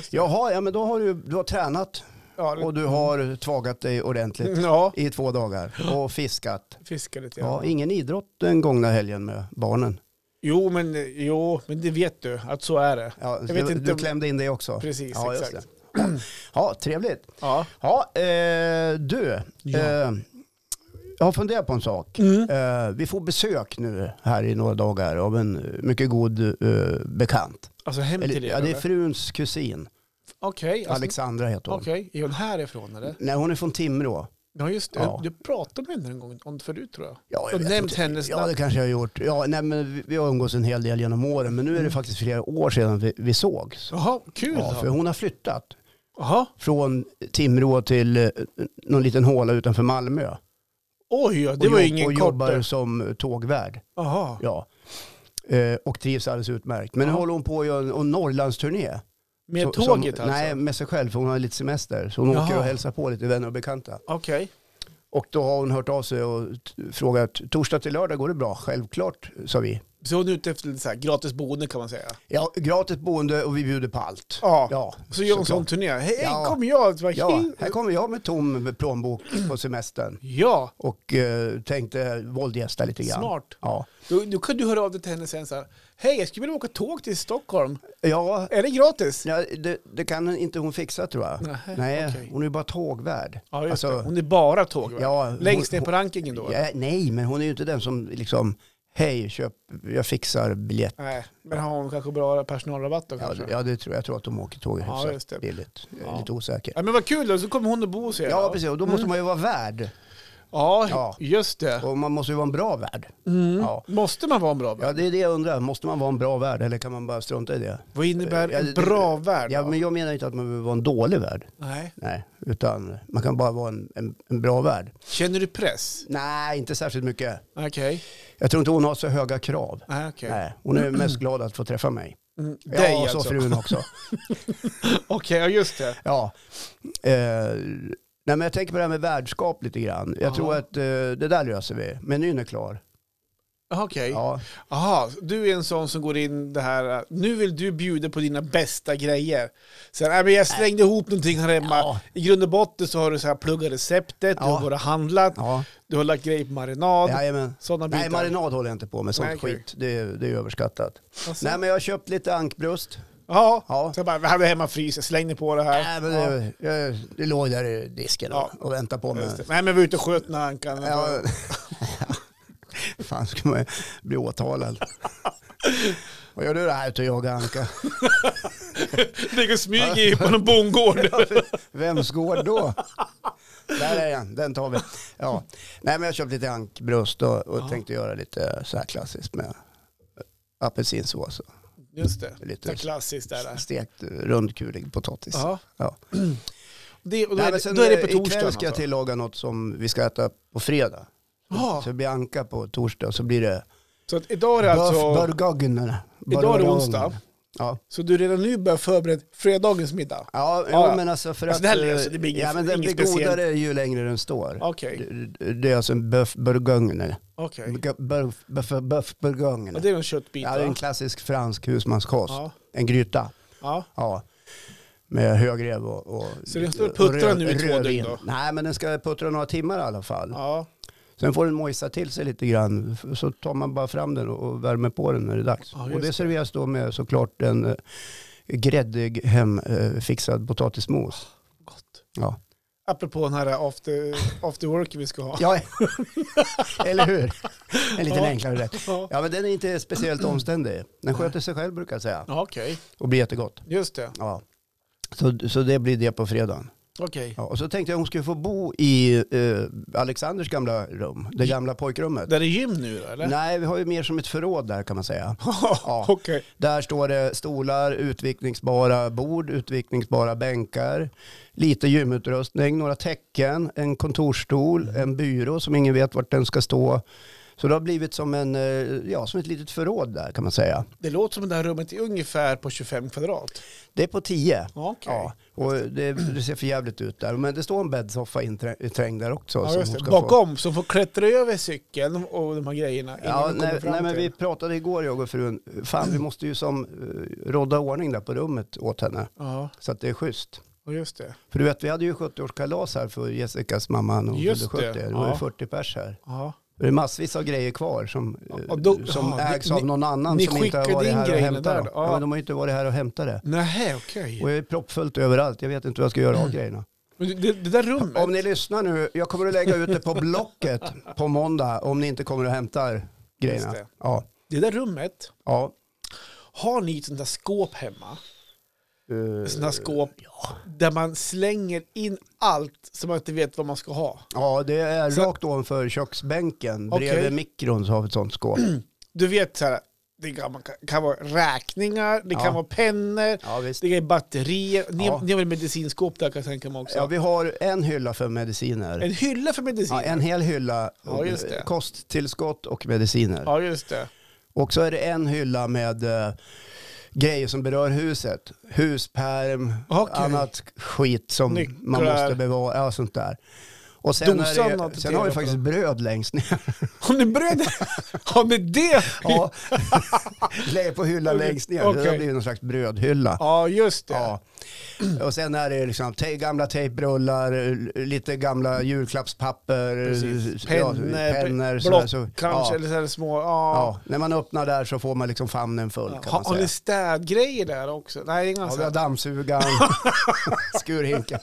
[SPEAKER 1] Jaha, ja, men då har du, du har tränat
[SPEAKER 2] Ja, det-
[SPEAKER 1] och du har tvagat dig ordentligt.
[SPEAKER 2] ja,
[SPEAKER 1] i två dagar och fiskat.
[SPEAKER 2] fiska lite.
[SPEAKER 1] Ja, ingen idrott den gångna helgen med barnen.
[SPEAKER 2] Jo, men, jo, men det vet du att så är det.
[SPEAKER 1] Ja,
[SPEAKER 2] vet
[SPEAKER 1] du,
[SPEAKER 2] inte
[SPEAKER 1] du
[SPEAKER 2] om-
[SPEAKER 1] klämde in det också.
[SPEAKER 2] Precis,
[SPEAKER 1] ja, just
[SPEAKER 2] exakt.
[SPEAKER 1] det. Ja. Ja, trevligt.
[SPEAKER 2] Ja.
[SPEAKER 1] Ja, eh, du.
[SPEAKER 2] Ja.
[SPEAKER 1] Eh, jag har funderat på en sak.
[SPEAKER 2] Mm.
[SPEAKER 1] Eh, vi får besök nu här i några dagar av en mycket god eh, bekant.
[SPEAKER 2] Alltså hem
[SPEAKER 1] Eller,
[SPEAKER 2] till er?
[SPEAKER 1] ja, det är
[SPEAKER 2] eller?
[SPEAKER 1] fruns kusin.
[SPEAKER 2] Okej, alltså,
[SPEAKER 1] Alexandra heter hon.
[SPEAKER 2] okej. är hon härifrån eller?
[SPEAKER 1] Nej, hon är från Timrå.
[SPEAKER 2] Ja just det,
[SPEAKER 1] Ja.
[SPEAKER 2] du pratade med henne en gång om det förut tror jag.
[SPEAKER 1] Ja,
[SPEAKER 2] Du har
[SPEAKER 1] vet
[SPEAKER 2] nämnt
[SPEAKER 1] inte.
[SPEAKER 2] hennes
[SPEAKER 1] Ja,
[SPEAKER 2] namn.
[SPEAKER 1] det kanske jag har gjort. Ja, nej, men vi, vi har umgås en hel del genom åren, men nu
[SPEAKER 2] Mm.
[SPEAKER 1] är det faktiskt flera år sedan vi, vi sågs.
[SPEAKER 2] Jaha, kul
[SPEAKER 1] Ja, för
[SPEAKER 2] då.
[SPEAKER 1] hon har flyttat
[SPEAKER 2] Jaha,
[SPEAKER 1] från Timrå till eh, någon liten håla utanför Malmö.
[SPEAKER 2] oj ja, det
[SPEAKER 1] och
[SPEAKER 2] var ju
[SPEAKER 1] jobb- och
[SPEAKER 2] ingen kort.
[SPEAKER 1] jobbar som tågvärd.
[SPEAKER 2] Jaha,
[SPEAKER 1] Ja. Eh, och trivs alldeles utmärkt. Men nu
[SPEAKER 2] Ja.
[SPEAKER 1] håller hon på att göra en, en Norrlandsturné.
[SPEAKER 2] med
[SPEAKER 1] Så-
[SPEAKER 2] tåget
[SPEAKER 1] som,
[SPEAKER 2] alltså?
[SPEAKER 1] Nej, med sig själv för hon har lite semester. Så hon
[SPEAKER 2] Jaha.
[SPEAKER 1] åker och hälsar på lite vänner och bekanta.
[SPEAKER 2] Okej,
[SPEAKER 1] Och då har hon hört av sig och t- frågat, torsdag till lördag går det bra? Självklart, sa vi.
[SPEAKER 2] så hon är ute efter lite så här gratis boende kan man säga.
[SPEAKER 1] Ja, gratis boende och vi bjuder på allt.
[SPEAKER 2] Ja,
[SPEAKER 1] Ja,
[SPEAKER 2] så gör hon sån
[SPEAKER 1] såklart.
[SPEAKER 2] turné. Hej,
[SPEAKER 1] Ja.
[SPEAKER 2] kom jag! Det var-
[SPEAKER 1] Ja, här kommer jag med tom plånbok på semestern
[SPEAKER 2] ja.
[SPEAKER 1] och eh, tänkte våldgästa lite grann.
[SPEAKER 2] smart.
[SPEAKER 1] Ja,
[SPEAKER 2] Då, då kan du höra av dig till henne sen så här. Hej, jag skulle vilja åka tåg till Stockholm.
[SPEAKER 1] ja,
[SPEAKER 2] Är det gratis?
[SPEAKER 1] ja det, det kan inte hon fixa tror jag.
[SPEAKER 2] Nähä,
[SPEAKER 1] Nej,
[SPEAKER 2] okej.
[SPEAKER 1] hon är ju bara tågvärd.
[SPEAKER 2] Ja, just
[SPEAKER 1] Alltså,
[SPEAKER 2] det. Hon är bara tåg va?
[SPEAKER 1] ja,
[SPEAKER 2] Längst
[SPEAKER 1] hon-
[SPEAKER 2] ner på rankingen då?
[SPEAKER 1] Ja, nej, men hon är ju inte den som liksom, hej, köp, jag fixar biljett.
[SPEAKER 2] Nej, men har hon kanske bra personalrabatt då
[SPEAKER 1] Ja,
[SPEAKER 2] kanske?
[SPEAKER 1] ja, det tror jag. Jag tror att de åker tåg
[SPEAKER 2] Ja,
[SPEAKER 1] hyfsat
[SPEAKER 2] just det.
[SPEAKER 1] billigt. Jag är
[SPEAKER 2] Ja.
[SPEAKER 1] Lite osäker.
[SPEAKER 2] Ja, Mm. men vad kul då, så kommer hon att bo hos er.
[SPEAKER 1] Ja,
[SPEAKER 2] då.
[SPEAKER 1] precis. Och då måste man ju vara värd.
[SPEAKER 2] Ja,
[SPEAKER 1] Ja.
[SPEAKER 2] just det.
[SPEAKER 1] Och man måste ju vara en bra värd.
[SPEAKER 2] Mm.
[SPEAKER 1] Ja.
[SPEAKER 2] Måste man vara en bra värd?
[SPEAKER 1] ja, det är det jag undrar. Måste man vara en bra värd eller kan man bara strunta i det?
[SPEAKER 2] Vad innebär
[SPEAKER 1] Ja,
[SPEAKER 2] en
[SPEAKER 1] det-
[SPEAKER 2] bra värld?
[SPEAKER 1] Ja,
[SPEAKER 2] då?
[SPEAKER 1] men jag menar inte att man behöver vara en dålig värd.
[SPEAKER 2] Nej.
[SPEAKER 1] Nej, utan man kan bara vara en, en, en bra värd.
[SPEAKER 2] Känner du press?
[SPEAKER 1] Nej, inte särskilt mycket.
[SPEAKER 2] Okej.
[SPEAKER 1] Jag tror inte hon har så höga krav.
[SPEAKER 2] Nej, okej.
[SPEAKER 1] Nej, hon är mest glad att få träffa mig.
[SPEAKER 2] Mm, dig
[SPEAKER 1] Ja, så
[SPEAKER 2] alltså?
[SPEAKER 1] frun
[SPEAKER 2] (laughs)
[SPEAKER 1] också.
[SPEAKER 2] (laughs) Okej, ja, just det.
[SPEAKER 1] Ja. Eh, nej, men jag tänker på det här med värdskap lite grann. Jag
[SPEAKER 2] Ja.
[SPEAKER 1] tror att eh, det där löser vi. Menyn är klar.
[SPEAKER 2] Jaha, Okej.
[SPEAKER 1] Ja.
[SPEAKER 2] Jaha, du är en sån som går in det här, nu vill du bjuda på dina bästa grejer. Så här, "Nej, men jag slängde ihop någonting här hemma.
[SPEAKER 1] Ja.
[SPEAKER 2] I grund och botten så har du så här, pluggat receptet, du
[SPEAKER 1] Ja.
[SPEAKER 2] har bara handlat,
[SPEAKER 1] ja.
[SPEAKER 2] du har lagt grejer på marinad.
[SPEAKER 1] Jajamän.
[SPEAKER 2] Sådana bitar.
[SPEAKER 1] Nej, marinad håller jag inte på med. Sånt
[SPEAKER 2] Nej, okej.
[SPEAKER 1] skit. Det, det är överskattat.
[SPEAKER 2] Alltså,
[SPEAKER 1] Nej, men jag har köpt lite ankbröst.
[SPEAKER 2] ja.
[SPEAKER 1] Ja.
[SPEAKER 2] Så jag bara, vi hade hemma i frysen, slängde på det här.
[SPEAKER 1] Nej, men
[SPEAKER 2] ja.
[SPEAKER 1] det, jag, det låg där i disken
[SPEAKER 2] Ja.
[SPEAKER 1] och väntade på mig.
[SPEAKER 2] Just det. Nej men vi var ute och sköt den här ankan. (laughs)
[SPEAKER 1] Ja. (laughs) Fan, ska man bli
[SPEAKER 2] (laughs)
[SPEAKER 1] åtalad? Vad gör du där ute och jagar anka?
[SPEAKER 2] Ligger och smyger i på
[SPEAKER 1] (laughs)
[SPEAKER 2] någon bondgård.
[SPEAKER 1] Vems gård då? Där är den, den tar vi. Ja. Nej, men jag köpte lite ankbröst och, och
[SPEAKER 2] Ja.
[SPEAKER 1] tänkte göra lite så här klassiskt med apelsinsås och
[SPEAKER 2] Just det,
[SPEAKER 1] Lite-
[SPEAKER 2] det är klassiskt där. där.
[SPEAKER 1] stekt rundkulig potatis.
[SPEAKER 2] Ja.
[SPEAKER 1] Ja.
[SPEAKER 2] Det, och då,
[SPEAKER 1] Nej, men
[SPEAKER 2] är, det-
[SPEAKER 1] sen,
[SPEAKER 2] då är det på
[SPEAKER 1] eh,
[SPEAKER 2] torsdagen
[SPEAKER 1] Ikväll ska jag
[SPEAKER 2] alltså.
[SPEAKER 1] tillaga något som vi ska äta på fredag.
[SPEAKER 2] Ja.
[SPEAKER 1] Så det blir anka på torsdag och så blir det
[SPEAKER 2] Så att idag är det alltså,
[SPEAKER 1] Börgaggen.
[SPEAKER 2] idag är det onsdag.
[SPEAKER 1] Ja,
[SPEAKER 2] Så du redan nu börjar förbereda fredagens middag?
[SPEAKER 1] ja, jo,
[SPEAKER 2] Ja.
[SPEAKER 1] men alltså för
[SPEAKER 2] Alltså,
[SPEAKER 1] att...
[SPEAKER 2] det här- alltså, det blir inget-
[SPEAKER 1] ja, men den
[SPEAKER 2] inget
[SPEAKER 1] blir
[SPEAKER 2] speciellt.
[SPEAKER 1] godare ju längre den står.
[SPEAKER 2] Okej,
[SPEAKER 1] Det, det är alltså en böf bourgogne.
[SPEAKER 2] okej.
[SPEAKER 1] Böf- böf- Böf bourgogne.
[SPEAKER 2] Och det är någon köttbit
[SPEAKER 1] Ja, det är en
[SPEAKER 2] va?
[SPEAKER 1] klassisk fransk husmanskost.
[SPEAKER 2] Ja,
[SPEAKER 1] En gryta.
[SPEAKER 2] ja.
[SPEAKER 1] Ja. Med högrev och, och
[SPEAKER 2] Så den står och
[SPEAKER 1] och
[SPEAKER 2] puttrar
[SPEAKER 1] röd-
[SPEAKER 2] nu i två
[SPEAKER 1] rödvin.
[SPEAKER 2] dygn då?
[SPEAKER 1] Nej, men den ska puttra några timmar i alla fall.
[SPEAKER 2] ja.
[SPEAKER 1] Sen får den mojsa till sig lite grann. F- Så tar man bara fram den och- och värmer på den när det är dags.
[SPEAKER 2] Ja, just
[SPEAKER 1] och det
[SPEAKER 2] det.
[SPEAKER 1] serveras då med såklart en eh, gräddig hemfixad potatismos.
[SPEAKER 2] Gott.
[SPEAKER 1] Ja.
[SPEAKER 2] Apropå den här after, after work vi ska ha.
[SPEAKER 1] ja. (laughs) Eller hur? En liten
[SPEAKER 2] Ja.
[SPEAKER 1] enklare rätt.
[SPEAKER 2] Ja,
[SPEAKER 1] Ja men den är inte speciellt omständig. Den sköter sig själv brukar jag säga.
[SPEAKER 2] ja okej.
[SPEAKER 1] Och blir jättegott.
[SPEAKER 2] Just det.
[SPEAKER 1] Ja. Så, så det blir det på fredagen.
[SPEAKER 2] Okej.
[SPEAKER 1] Ja, och så tänkte jag hon skulle få bo i eh, Alexanders gamla rum. Det gamla pojkrummet.
[SPEAKER 2] Där är gym nu då, eller?
[SPEAKER 1] Nej vi har ju mer som ett förråd där kan man
[SPEAKER 2] (laughs)
[SPEAKER 1] säga. Ja.
[SPEAKER 2] Okej.
[SPEAKER 1] Där står det stolar, utvikningsbara bord, utvikningsbara bänkar, lite gymutrustning, några tecken, en kontorsstol,
[SPEAKER 2] Mm.
[SPEAKER 1] en byrå som ingen vet vart den ska stå. Så det har blivit som, en, eh, ja, som ett litet förråd där kan man säga.
[SPEAKER 2] Det låter som att det här rummet är ungefär på 25 kvadrat.
[SPEAKER 1] Det är på 10.
[SPEAKER 2] Ja, Okej.
[SPEAKER 1] Ja, och det, det ser för jävligt ut där. Men det står en bäddsoffa inträngd där också.
[SPEAKER 2] Ja,
[SPEAKER 1] som
[SPEAKER 2] just
[SPEAKER 1] hon
[SPEAKER 2] det.
[SPEAKER 1] ska få-
[SPEAKER 2] Bakom, som får klättra över cykeln och de här grejerna innan
[SPEAKER 1] Ja,
[SPEAKER 2] de kommer
[SPEAKER 1] nej,
[SPEAKER 2] fram
[SPEAKER 1] nej, men vi
[SPEAKER 2] till.
[SPEAKER 1] pratade igår jag och frun. Fan, vi måste ju som eh, rådda ordning där på rummet åt henne.
[SPEAKER 2] Ja,
[SPEAKER 1] Så att det är schysst.
[SPEAKER 2] och just det.
[SPEAKER 1] För du vet, vi hade ju 70-årskalas här för Jessicas mamma när hon fyllde
[SPEAKER 2] Just
[SPEAKER 1] 70. Det,
[SPEAKER 2] det,
[SPEAKER 1] var ju
[SPEAKER 2] ja.
[SPEAKER 1] 40 pers här.
[SPEAKER 2] Ja.
[SPEAKER 1] Det är massvis av grejer kvar som, eh,
[SPEAKER 2] Ja, då-
[SPEAKER 1] som
[SPEAKER 2] ja,
[SPEAKER 1] ägs
[SPEAKER 2] ni-
[SPEAKER 1] av någon annan
[SPEAKER 2] ni
[SPEAKER 1] som inte har
[SPEAKER 2] skickade
[SPEAKER 1] varit
[SPEAKER 2] in
[SPEAKER 1] här och
[SPEAKER 2] grejerna
[SPEAKER 1] hämtat
[SPEAKER 2] där
[SPEAKER 1] det.
[SPEAKER 2] då?
[SPEAKER 1] Ja.
[SPEAKER 2] Ja.
[SPEAKER 1] men de har ju inte varit här och hämtat det.
[SPEAKER 2] Nej, okej.
[SPEAKER 1] Och jag är proppfullt överallt. Jag vet inte vad jag ska göra av grejerna.
[SPEAKER 2] Mm. Men det, det där rummet?
[SPEAKER 1] Om ni lyssnar nu, jag kommer att lägga ut det på Blocket på måndag om ni inte kommer och hämtar grejerna.
[SPEAKER 2] Just det.
[SPEAKER 1] Ja,
[SPEAKER 2] Det där rummet,
[SPEAKER 1] ja.
[SPEAKER 2] har ni ett sånt där skåp hemma?
[SPEAKER 1] Eh,
[SPEAKER 2] Sånt där skåp där man slänger in allt som man inte vet vad man ska ha.
[SPEAKER 1] Ja, det är
[SPEAKER 2] Så-
[SPEAKER 1] rakt ovanför köksbänken.
[SPEAKER 2] Okej. Mm.
[SPEAKER 1] Bredvid mikron så har vi ett sånt skåp.
[SPEAKER 2] Du vet så här, det kan, man kan vara räkningar, det kan
[SPEAKER 1] Ja.
[SPEAKER 2] vara pennor,
[SPEAKER 1] Ja, visst.
[SPEAKER 2] det är batterier. Ni,
[SPEAKER 1] Ja.
[SPEAKER 2] ni har väl medicinskåp där kan jag tänka mig också?
[SPEAKER 1] Ja, vi har en hylla för mediciner.
[SPEAKER 2] En hylla för medicin?
[SPEAKER 1] Ja, en hel hylla
[SPEAKER 2] Ja, just det.
[SPEAKER 1] kosttillskott och mediciner.
[SPEAKER 2] Ja, just det.
[SPEAKER 1] Och så är det en hylla med eh, grejer som berör huset. Huspärm,
[SPEAKER 2] Okej.
[SPEAKER 1] annat skit som man
[SPEAKER 2] Nycklar.
[SPEAKER 1] måste bevara. Ja, sånt där. Och sen,
[SPEAKER 2] Dosan
[SPEAKER 1] är
[SPEAKER 2] har
[SPEAKER 1] det,
[SPEAKER 2] inte
[SPEAKER 1] sen har vi
[SPEAKER 2] delat
[SPEAKER 1] faktiskt
[SPEAKER 2] på.
[SPEAKER 1] bröd längst ner.
[SPEAKER 2] Har ni bröd? (laughs) Har ni det?
[SPEAKER 1] (laughs) Ja. Lägger på hyllan
[SPEAKER 2] Okej.
[SPEAKER 1] längst ner. Det
[SPEAKER 2] Okej.
[SPEAKER 1] har blivit någon slags brödhylla.
[SPEAKER 2] Ja, just det.
[SPEAKER 1] Ja. Och sen är det liksom te- gamla tejprullar, l- lite gamla julklappspapper,
[SPEAKER 2] Precis.
[SPEAKER 1] ja,
[SPEAKER 2] Pennor,
[SPEAKER 1] pennor, sådär.
[SPEAKER 2] block
[SPEAKER 1] Så-
[SPEAKER 2] kanske,
[SPEAKER 1] ja.
[SPEAKER 2] eller så här små. Ja.
[SPEAKER 1] Ja, när man öppnar där så får man liksom famnen full kan
[SPEAKER 2] Har,
[SPEAKER 1] man
[SPEAKER 2] har ni
[SPEAKER 1] säga.
[SPEAKER 2] städgrejer där också? Nej, det är
[SPEAKER 1] Ja,
[SPEAKER 2] inga
[SPEAKER 1] vi har
[SPEAKER 2] ja,
[SPEAKER 1] dammsugaren,
[SPEAKER 2] (laughs)
[SPEAKER 1] skurhinken.